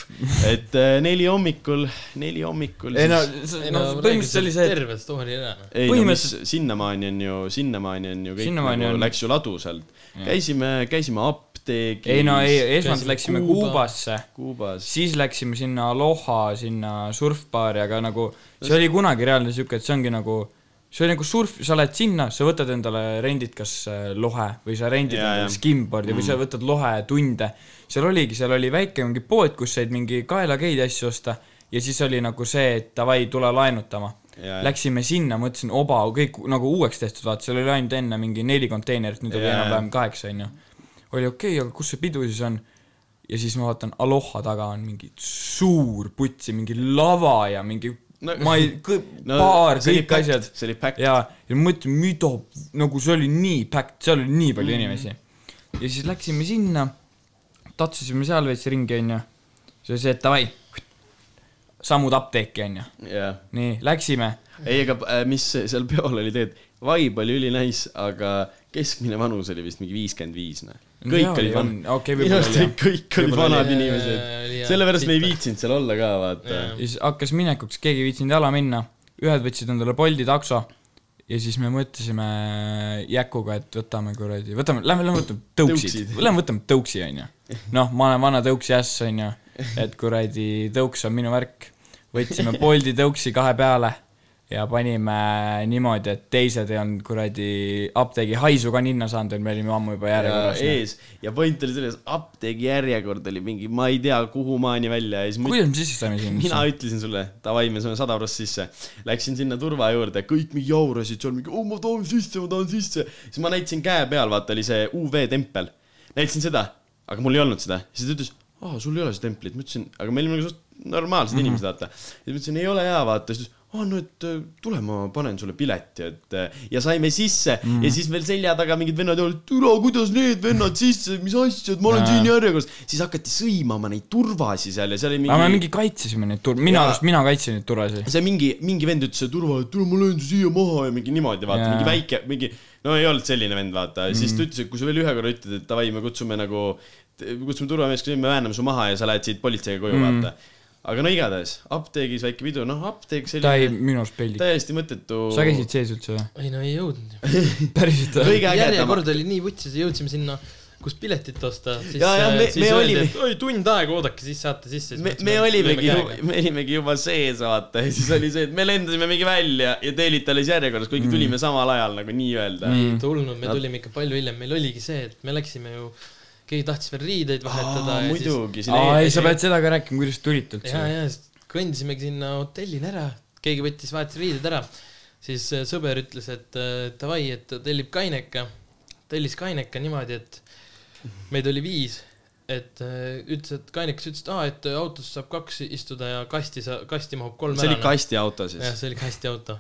B: et äh, neli hommikul , neli hommikul
A: Ei no
B: siis...
A: see- Ei no, no põhimõtteliselt oli see, et-
C: terve story ära . noh.
B: ei no mis , sinnamaani on ju , sinnamaani on ju kõik
A: Sinnamaani
B: nagu
A: on-
B: on... läks ju ladusalt . käisime , käisime apteegis .
A: ei no ei , esmalt läksime Kuubasse ,
B: Kuubas .
A: siis läksime sinna Aloha , sinna surfbaari , aga nagu see oli kunagi reaalne siuke , et see ongi nagu , see oli nagu surf , sa lähed sinna , sa võtad endale , rendid kas äh, lohe või sa rendid
B: Jaa,
A: endale
B: jah.
A: skimboardi või sa
B: Mm.
A: võtad lohe tunde . seal oligi , seal oli väike mingi pood , kus said mingi kaelakeid ja asju osta ja siis oli nagu see , et davai , tule laenutama .
B: Jaa, jah.
A: Läksime sinna , mõtlesin , oba , kõik nagu uueks tehtud , vaata , seal oli ainult enne mingi neli konteinerit , nüüd oli
B: Jaa, jaa.
A: enam-vähem kaheksa , onju . oli okei okay, , aga kus see pidu siis on ? ja siis ma vaatan , Aloha taga on mingi suur putsi , mingi lava ja mingi no, ma ei , no, baar ,
B: see oli
A: kõik
B: packed,
A: asjad .
B: see oli packed.
A: ja , ja ma mõtlen , mida , nagu see oli nii packed , seal oli nii palju mm. inimesi . ja siis läksime sinna , tatsusime seal veits ringi , onju . siis oli see , et davai , sammud apteeki , onju .
B: jah .
A: nii , läksime .
B: ei , aga äh, mis seal peol oli tegelikult , vibe oli ülinais , aga keskmine vanus oli vist mingi viiskümmend viis , noh .
A: No jaa,
B: kõik olid
A: oli,
B: van-
A: on. , Okei,
B: minu
A: võib-olla
B: arust
A: oli,
B: olid
A: jah.
B: kõik olid
A: Võib-olla oli,
B: vanad
A: jah. Jaa, jaa,
B: inimesed
A: jaa, .
B: sellepärast me ei
A: sitta.
B: viitsinud seal olla ka , vaata .
A: ja siis hakkas minekuks , keegi ei viitsinud jala minna , ühed võtsid endale Bolti takso ja siis me mõtlesime Jäkuga , et võtame kuradi , võtame , lähme , lähme võtame tõuksid
B: Tõuksid. ,
A: lähme võtame tõuksi , onju . noh , ma olen vana tõuksi äss , onju , et kuradi tõuks on minu värk . võtsime Bolti tõuksi kahe peale ja panime niimoodi , et teised ei olnud kuradi apteegi haisu ka ninna saanud , et me olime ammu juba järjekorras . noh.
B: ees ja point oli selles , apteegi järjekord oli mingi , ma ei tea , kuhumaani välja ja siis ma-
A: kuidas me sisse saime sinna ?
B: mina ütlesin sulle , davai , me saame sada prossa sisse . Läksin sinna turva juurde , kõik mingi jaurasid seal , mingi oo , ma tahan sisse , ma tahan sisse . siis ma näitasin käe peal , vaata , oli see UV tempel . näitasin seda , aga mul ei olnud seda . siis ta ütles , aa , sul ei ole seda templit . ma ütlesin , aga me olime nagu suht normaalsed
A: Mhm.
B: mm -hmm. inimesed , vaata . siis ma ütlesin , ei ole hea , vaata . siis ta ütles , aa , no et äh, tule , ma panen sulle pileti , et äh, ja saime sisse mm
A: Mhm.
B: -hmm. ja siis veel selja taga mingid vennad olid , türa , kuidas need vennad sisse , mis asja , et ma olen
A: Jaa.
B: siin järjekorras . siis hakati sõimama neid turvasi seal ja seal oli mingi .
A: aga me mingi kaitsesime neid tur- , minu
B: Jaa.
A: arust mina kaitsin neid turvasid .
B: see mingi , mingi vend ütles , et Urvo , et tule ma löön su siia maha ja mingi niimoodi , vaata
A: Jaa.
B: yeah. , mingi väike , mingi , no ei olnud selline vend , vaata mm. , siis
A: Mhm.
B: ta ütles , et kui sa veel ühe korra ütled , et davai , me kutsume nagu , kutsume turvamees , me vääname su maha ja sa lähed siit politseiga koju
A: Mhm.
B: mm. , vaata . aga no igatahes , apteegis väike pidu , noh apteek selline
A: ta ei , minu arust peldik .
B: täiesti mõttetu .
A: sa käisid sees üldse või ?
C: ei no ei jõudnud ju
A: Päriselt või?
B: Kõige ägedam-
C: järjekord oli nii vutsis , jõudsime sinna , kus piletit osta . siis,
B: Jaa, jaa,
C: äh,
B: me-
C: siis
B: me
C: öeldi,
B: olime-
C: et oi tund aega oodake , siis saate sisse .
B: me , me olimegi , me olimegi juba sees , vaata , ja siis oli see , et me lendasime mingi välja ja Delita alles järjekorras ,
A: Mhm.
B: kuigi tulime samal ajal nagu nii-öelda .
C: me ei tulnud , me tulime ikka palju hiljem , meil oligi see , et me läksime ju , keegi tahtis veel riideid vahetada .
B: muidugi,
C: siis...
A: aa ei , sa pead seda ka rääkima , kuidas tulid
C: ja ,
A: üldse .
C: ja siis kõndisimegi sinna hotellini ära , keegi võttis , vahetas riided ära , siis äh, sõber ütles , et äh, davai , et ta tellib kaineka , tellis kaineka niimoodi , et meid oli viis , et äh, ütles , et kainekas ütles , et aa , et autos saab kaks istuda ja kasti sa , kasti mahub kolm
B: see oli
C: ära, noh.
B: kastiauto siis
C: jah , see oli kastiauto .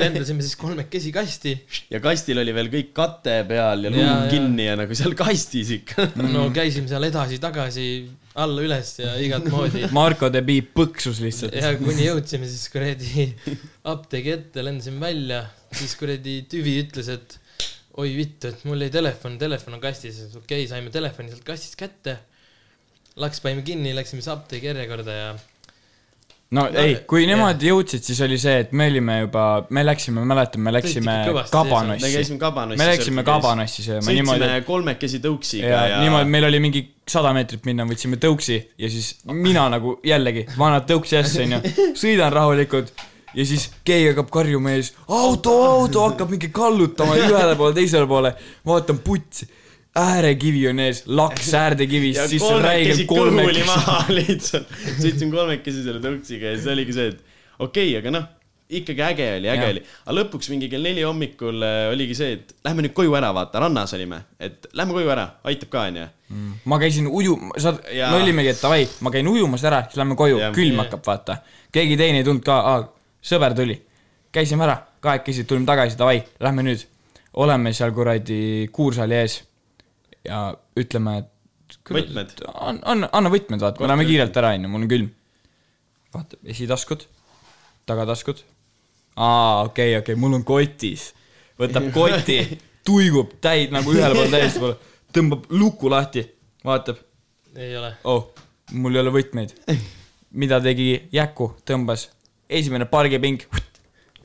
C: lendasime siis kolmekesi kasti ,
B: ja kastil oli veel kõik kate peal ja
C: Jaa,
B: luum
C: jaa.
B: kinni ja nagu seal kastis ikka .
C: no käisime seal edasi-tagasi , alla-üles ja igat moodi .
A: Marko de Biib põksus lihtsalt .
C: ja kuni jõudsime siis kuradi apteegi ette , lendasime välja , siis kuradi tüvi ütles , et oi vittu , et mul jäi telefon , telefon on kastis , okei okay, , saime telefoni sealt kastist kätte . Laks panime kinni , läksime siis apteegi järjekorda ja
A: no ei , kui nemad jõudsid , siis oli see , et me olime juba , me läksime , ma mäletan , me läksime
B: ikka kõvasti sees.
A: kabanossi
B: Me käisime Kabanossi .
A: me läksime
B: sööma käis.
A: kabanossi sööma
B: Sõitsime
A: niimoodi .
B: kolmekesi tõuksiga
A: ja, ja...
B: ja-
A: niimoodi , meil oli mingi sada meetrit minna , võtsime tõuksi ja siis mina nagu jällegi , ma annan tõuksi asja onju , sõidan rahulikult ja siis keegi hakkab karjuma ees , auto , auto hakkab mingi kallutama ühele poole , teisele poole , vaatan puts , äärekivi on ees , laks
B: ja
A: äärdekivist , siis on räigelt
B: kolmekesi kõhuli maha
A: kolmekesi .
B: lihtsalt . sõitsime kolmekesi selle tõuksiga ja siis oligi see , et okei okay, , aga noh , ikkagi äge oli ,
A: Jah.
B: äge ja. oli . aga lõpuks mingi kell neli hommikul äh, oligi see , et lähme nüüd koju ära , vaata , rannas olime , et lähme koju ära , aitab ka , onju .
A: ma käisin uju- , sa ,
B: Jaa.
A: me olimegi , et davai , ma käin ujumas ära , siis lähme koju , külm hakkab , vaata . keegi teine ei tulnud ka , sõber tuli . käisime ära , kahekesi tulime tagasi , davai , lähme nüüd . oleme seal kuradi kuursaali ees ja ütleme , et
B: Võtmed.
A: anna , anna , anna võtmed , vaata , me läheme
B: Korteri-
A: kiirelt ära , onju , mul on külm . vaata , esitaskud , tagataskud . aa , okei , okei , mul on kotis . võtab koti , tuigub täid nagu ühele poole täiesti poole , tõmbab luku lahti , vaatab
C: ei ole .
A: oh , mul ei ole võtmeid . mida tegi Jäku , tõmbas esimene pargiping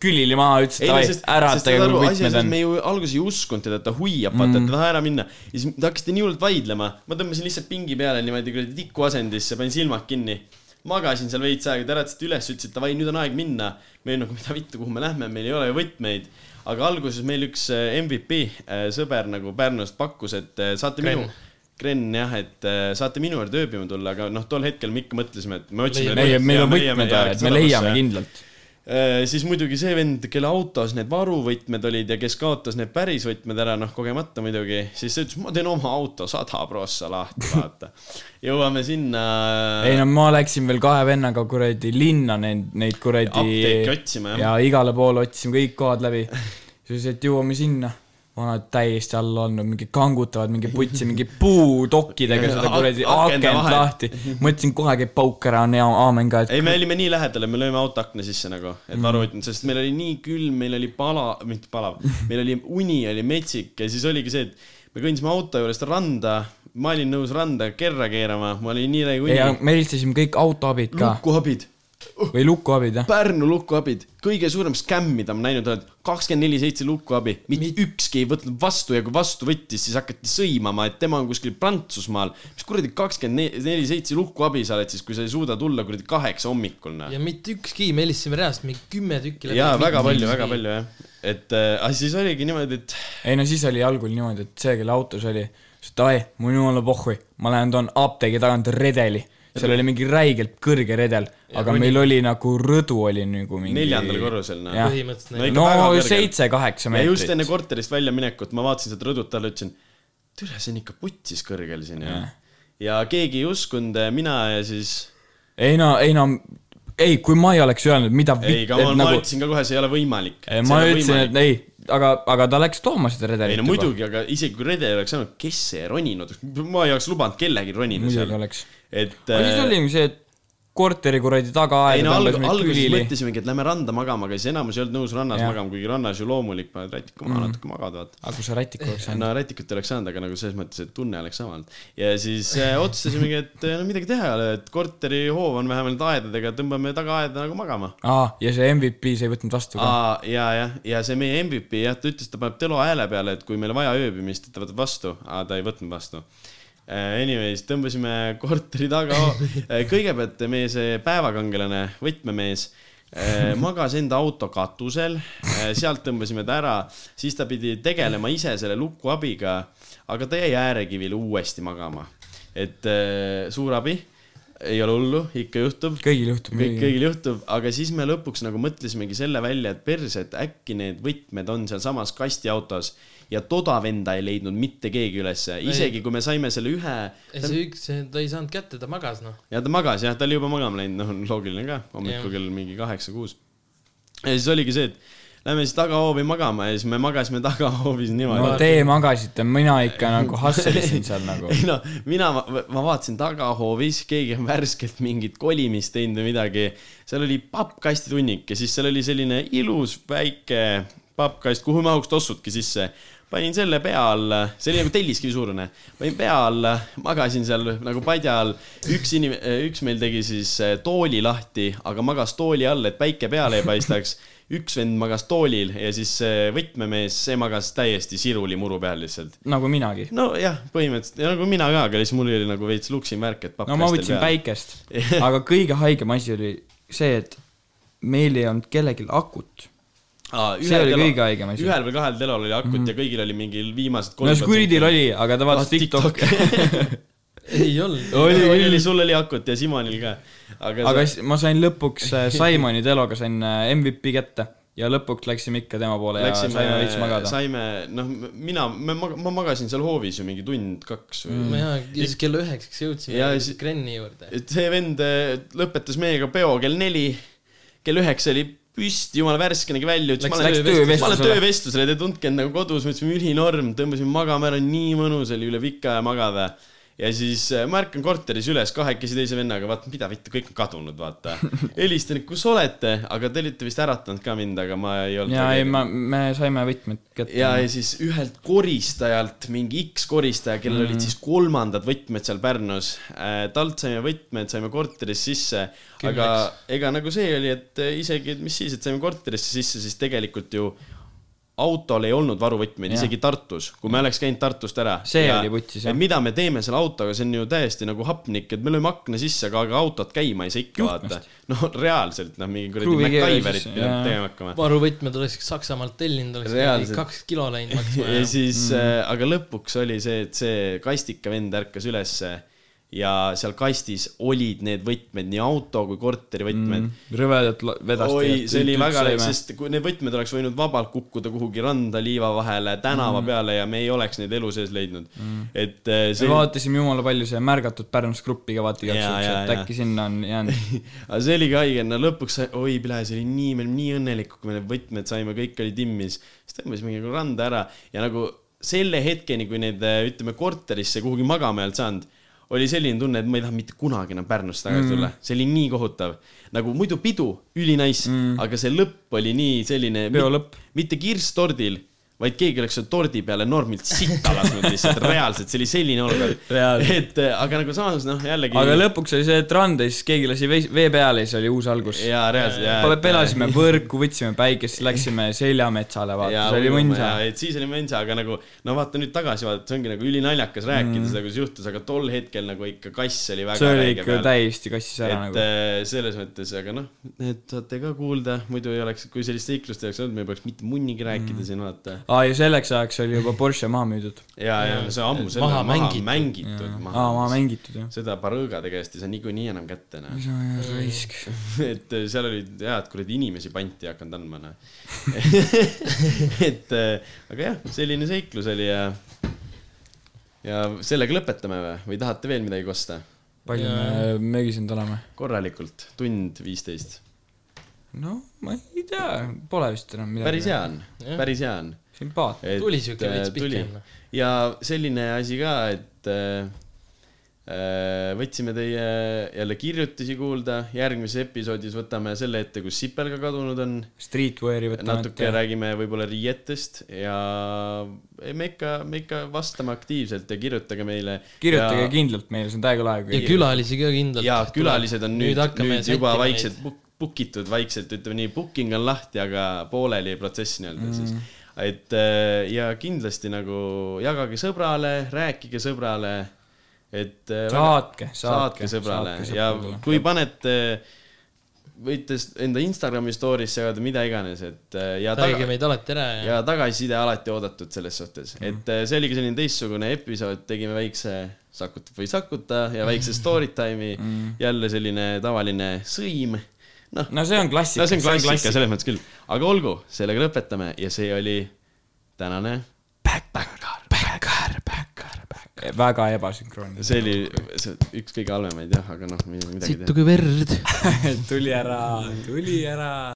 A: külili maha , ütles , et davai , ära
B: saad
A: teage ,
B: aru,
A: kui
B: asi on
A: võtmed
B: selles, et
A: on Mm.
B: me . ju alguses ei uskunud teda , et ta hoiab , vaata , et ta ei taha ära minna . ja siis te hakkasite nii hullult vaidlema , ma tõmbasin lihtsalt pingi peale niimoodi kuradi tikuasendisse , panin silmad kinni . magasin seal veits aega , te äratasite üles , ütlesite davai , nüüd on aeg minna . me olime nagu , mida vittu , kuhu me lähme , meil ei ole ju võtmeid . aga alguses meil üks äh, MVP äh, sõber nagu Pärnust pakkus , et äh, saate
C: Kren.
B: minu , Kren jah , et äh, saate minu juurde ööbima tulla , aga noh , tol hetkel me ikka mõtlesime , et me otsime .
A: Leiame- meil on võtmed vaja, et me leiame kindlalt. .
B: Äh, siis muidugi see vend , kelle autos need varuvõtmed olid ja kes kaotas need päris võtmed ära , noh kogemata muidugi , siis ta ütles , ma teen oma auto sada prossa lahti , vaata . jõuame sinna .
A: ei no ma läksin veel kahe vennaga kuradi linna neid , neid kuradi
B: Apteeki otsima, jah.
A: ja igale poole otsisime kõik kohad läbi . siis , et jõuame sinna , vanad täiesti alla olnud , mingi kangutavad mingi putsi , mingi puudokkidega seda kuradi
B: Ak- akende
A: akent
B: vahel.
A: lahti . mõtlesin kohe käib pauk ära , on hea aamen ka ,
B: ei , me
A: et
B: olime nii lähedal , me lööme auto akna sisse nagu ,
A: Mm.
B: et varuvõtmed , sest meil oli nii külm , meil oli pala , mitte palav , meil oli uni oli metsik ja siis oligi see , et me kõndisime auto juurest randa , ma olin nõus randa kerra keerama , ma olin nii läinud
A: ja
B: uni .
A: me helistasime kõik autoabid ka .
B: lukuabid .
A: või lukuabid , jah .
B: Pärnu lukuabid , kõige suurem skämm , mida ma näinud olen , kakskümmend neli seitse lukuabi , mitte ükski ei võtnud vastu ja kui vastu võttis , siis hakati sõimama , et tema on kuskil Prantsusmaal . mis kuradi kakskümmend neli seitse lukuabi sa oled siis , kui sa ei suuda tulla kuradi kaheksa hommikul , noh
C: ja mitte ükski , me helistasime reast mingi kümme tükki
B: jaa , väga palju , väga palju jah . et äh, aga siis oligi niimoodi , et
A: ei no siis oli algul niimoodi , et see , kelle autos oli , ütles , et ai , mul on jumala pohhui , ma lähen toon apteegi tagant redeli . seal oli mingi räigelt kõrge redel , aga
B: oli-
A: meil oli nagu rõdu oli nagu mingi
B: neljandal korrusel noh .
A: Jah. no seitse-kaheksa
B: ja just enne
A: meetrit .
B: korterist väljaminekut ma vaatasin sealt rõdut alla , ütlesin , türa , see on ikka putsis kõrgel siin jah . ja keegi ei uskunud , mina ja siis
A: ei no , ei no , ei , kui ma ei oleks öelnud , mida
B: ei , aga ma, ma nagu... ütlesin ka kohe , see ei ole võimalik .
A: ma ütlesin , et ei , aga , aga ta läks tooma seda redelit
B: ei no muidugi , aga isegi kui Rede oleks saanud , kes see roninud , ma ei oleks lubanud kellelgi ronida
A: Muidugi
B: seal .
A: oleks.
B: et .
A: aga siis oli see , et korteri kuradi tagaaeda .
B: ei no alg, alguses mõtlesimegi , et lähme randa magama , aga siis enamus ei olnud nõus rannas
A: Jah.
B: magama , kuigi rannas ju loomulik , paned rätiku maha
A: Mhm.
B: mm. , natuke magad , vaata .
A: Aga kui sa rätiku oleks saanud?
B: no rätikut ei oleks saanud , aga nagu selles mõttes , et tunne oleks sama olnud . ja siis äh, otsustasimegi , et äh, no midagi teha ei ole , et korterihoov on vähemalt aedadega , tõmbame tagaaeda nagu magama .
A: aa , ja see MVP , sa ei võtnud vastu ka ?
B: Aa, ja , jah , ja see meie MVP jah , ta ütles , ta paneb Telo hääle peale , et kui meil on vaja ööbimist , et ta võtab vastu , aga ta ei võtnud vastu . Anyways , tõmbasime korteri taga . kõigepealt meie see päevakangelane , võtmemees , magas enda auto katusel , sealt tõmbasime ta ära , siis ta pidi tegelema ise selle luku abiga , aga ta jäi äärekivile uuesti magama . et eh, suur abi , ei ole hullu , ikka juhtub .
A: kõigil juhtub
B: kõik ,
A: midagi.
B: kõigil juhtub , aga siis me lõpuks nagu mõtlesimegi selle välja , et perse , et äkki need võtmed on sealsamas kastiautos ja toda venda ei leidnud mitte keegi ülesse ,
C: Ei.
B: isegi kui me saime selle ühe .
C: ei see üks , ta ei saanud kätte , ta magas noh .
B: ja ta magas jah , ta oli juba magama läinud , noh loogiline ka , hommikul
C: Jah.
B: kell mingi kaheksa-kuus . ja siis oligi see , et lähme siis tagahoovi magama ja siis me magasime tagahoovis niimoodi
A: no . teie magasite , mina ikka nagu hasselisin seal nagu .
B: ei no mina , ma vaatasin tagahoovis , keegi on värskelt mingit kolimist teinud või midagi . seal oli pappkastitunnik ja siis seal oli selline ilus väike pappkast , kuhu mahuks tossudki sisse . panin selle pea alla , see oli nagu telliskivi suurune , panin pea alla , magasin seal nagu padja all . üks inimene , üks meil tegi siis eh, tooli lahti , aga magas tooli all , et päike peale ei paistaks üks vend magas toolil ja siis eh, võtmemees , see magas täiesti siruli muru peal lihtsalt .
A: nagu minagi .
B: nojah , põhimõtteliselt ja nagu mina ka , aga siis mul oli nagu veits luksi märk , et papp
A: no ma
B: kastel
A: võtsin
B: peal.
A: päikest , aga kõige haigem asi oli see , et meil ei olnud kellelgi akut .
B: Aa,
A: see
B: ühel
A: oli
B: telo-
A: kõige haigem asi .
B: ühel või kahel telol oli akut mm -hmm. ja kõigil oli mingil viimased
A: no Squidil oli , aga ta vaatas TikTok'i .
C: ei olnud .
B: oli , oli, oli , sul oli akut ja Simonil ka . aga,
A: aga s- ma sain lõpuks äh, Simoni teloga sain äh, MVP kätte ja lõpuks läksime ikka tema poole läksime, ja saime veits magada .
B: saime , noh , mina , ma magasin seal hoovis ju mingi tund-kaks või
A: Mm.
C: ma jaa , ja siis kella üheksaks jõudsime
B: Ja
C: ja,
B: siis-
C: Krenni juurde .
B: et see vend eh, lõpetas meiega peo kell neli , kell üheksa oli püsti , jumala värske nägi välja , ütles
A: Läks-
B: ma lähen
A: läks
B: töövestlusele , ma lähen
A: töövestlusele.
B: töövestlusele , te tundke end nagu kodus , ma ütlesin ülinorm , tõmbasime magama ära , nii mõnus oli üle pika aja magada . ja siis eh, ma ärkan korteris üles kahekesi teise vennaga , vaatan , mida vittu , kõik on kadunud , vaata . helistan , et kus olete , aga te olite vist äratanud ka mind , aga ma ei olnud .
A: ja ei , ma , me saime võtmed kätte .
B: ja , ja siis ühelt koristajalt , mingi X koristaja , kellel mm.
A: Mm.
B: olid siis kolmandad võtmed seal Pärnus . talt saime võtmed , saime korterisse sisse ,
A: Küll
B: aga ega nagu see oli , et äh, isegi , mis siis , et saime korterisse sisse , siis tegelikult ju autol ei olnud varuvõtmeid ,
A: Jah.
B: isegi Tartus , kui me oleks käinud Tartust ära .
A: See oli putsis, jah.
B: jah . mida me teeme selle autoga , see on ju täiesti nagu hapnik , et me lööme akna sisse , aga , aga autot käima ei saa ikka vaata . no reaalselt , noh , mingi kuradi
A: Kruvi keeras
B: MacGyverit
A: sisse,
B: pidanud
A: jaa.
B: tegema hakkama .
C: varuvõtmed oleks Saksamaalt tellinud , oleks
B: Reaalselt.
C: mingi kaks kilo läinud maksma
B: ja siis mm. , aga lõpuks oli see , et see kastika vend ärkas ülesse ja seal kastis olid need võtmed , nii auto kui korteri võtmed mm. .
A: rõvedat la- vedast .
B: oi , see oli väga , sest kui need võtmed oleks võinud vabalt kukkuda kuhugi randa , liiva vahele , tänava
A: Mm.
B: mm. peale ja me ei oleks neid elu sees leidnud mm. . et eh,
A: me vaatasime jumala palju see märgatud Pärnus gruppi ka vaata igaks
B: Jaa,
A: juhuks ,
B: jaa,
A: et
B: jaa.
A: äkki sinna on jäänud .
B: aga see oligi haige , no lõpuks sai , oi pile , see oli nii , me olime nii õnnelikud , kui me need võtmed saime , kõik oli timmis . siis tõmbasime nagu randa ära ja nagu selle hetkeni , kui need , ütleme , korterisse kuhugi magama ei olnud saanud , oli selline tunne , et ma ei taha mitte kunagi enam Pärnusse tagasi
A: Mm.
B: tulla mm. , see oli nii kohutav . nagu muidu pidu , ülinais mm. , aga see lõpp oli nii selline .
A: Peo lõpp. .
B: mitte kirstordil , vaid keegi oleks seal tordi peale normilt sitta lasknud lihtsalt reaalselt , see oli selline olukord .
A: Reaalselt.
B: et aga nagu samas noh , jällegi .
A: aga lõpuks oli see , et randes keegi lasi vee, vee peale ja siis oli uus algus .
B: Jaa, reaalselt, jaa, et-
A: pelasime võrku , võtsime päikest , läksime seljametsale vaata , see oli mõnsa .
B: et siis oli mõnsa , aga nagu no vaata nüüd tagasi vaadates ongi nagu ülinaljakas rääkida mm.
A: Mm.
B: seda , kui see juhtus , aga tol hetkel nagu ikka kass oli väga
A: see oli
B: räige
A: ikka
B: peal.
A: täiesti kassis ära
B: et
A: nagu .
B: äh, selles mõttes , aga noh , need saate ka kuulda , muidu ei oleks , kui sellist seiklust ei oleks olnud , me ei peaks mitte munnigi rääkida mm. siin vaata .
A: aa , ja selleks ajaks oli juba Porsche maha müüdud .
B: ja , ja see ammu selle maha mängitud, mängitud .
A: aa , maha mängitud jah .
B: seda Barõõgade käest ei saa niikuinii enam kätte , noh .
A: see on jah raisk .
B: et äh, seal olid head kuradi inimesi panti ei hakanud andma , noh . et äh, aga jah , selline seiklus oli ja , ja sellega lõpetame või , või tahate veel midagi kosta ?
A: palju me möögisinud oleme ?
B: korralikult , tund viisteist .
A: no ma ei tea , pole vist enam midagi .
B: päris hea on , päris hea on . äh,
A: Sümpaatne.
C: Tuli siuke veits pikem. .
B: ja selline asi ka , et äh, võtsime teie jälle kirjutisi kuulda , järgmises episoodis võtame selle ette , kus sipelga kadunud on .
A: Streetwear'i võtame
B: natuke
A: ette.
B: räägime võib-olla riietest ja ei, me ikka , me ikka vastame aktiivselt ja kirjutage meile .
A: kirjutage ja... kindlalt meile , see on täiega lahe .
B: Ja külalisi ka kindlalt. Jaa, külalised on nüüd- nüüd juba vaikselt book- book itud , vaikselt ütleme nii , booking on lahti , aga pooleli protsess nii-öelda mm.
A: Mhm.
B: siis . et äh, ja kindlasti nagu jagage sõbrale , rääkige sõbrale , et äh,
A: Saatke, saatke,
B: väga- saatke sõbrale
A: saatke
B: ja
A: sõpradele.
B: kui panete võite s- enda Instagrami story'sse jagada mida iganes , et äh, ja
C: Tagige meid alati ära ja-
B: ja tagasiside alati oodatud selles suhtes ,
A: Mhm.
B: et äh, see oligi selline teistsugune episood , tegime väikse sakutab või ei sakuta ja väikse
A: Mhm.
B: story time'i mm. , jälle selline tavaline sõim . noh
A: No see on klassika,
B: no see on
A: see on
B: klassika
A: klassika.
B: selles mõttes küll , aga olgu , sellega lõpetame ja see oli tänane .
A: väga ebasünkroonne .
B: see oli see üks kõige halvemaid jah , aga noh , midagi teha .
A: tuli ära , tuli ära .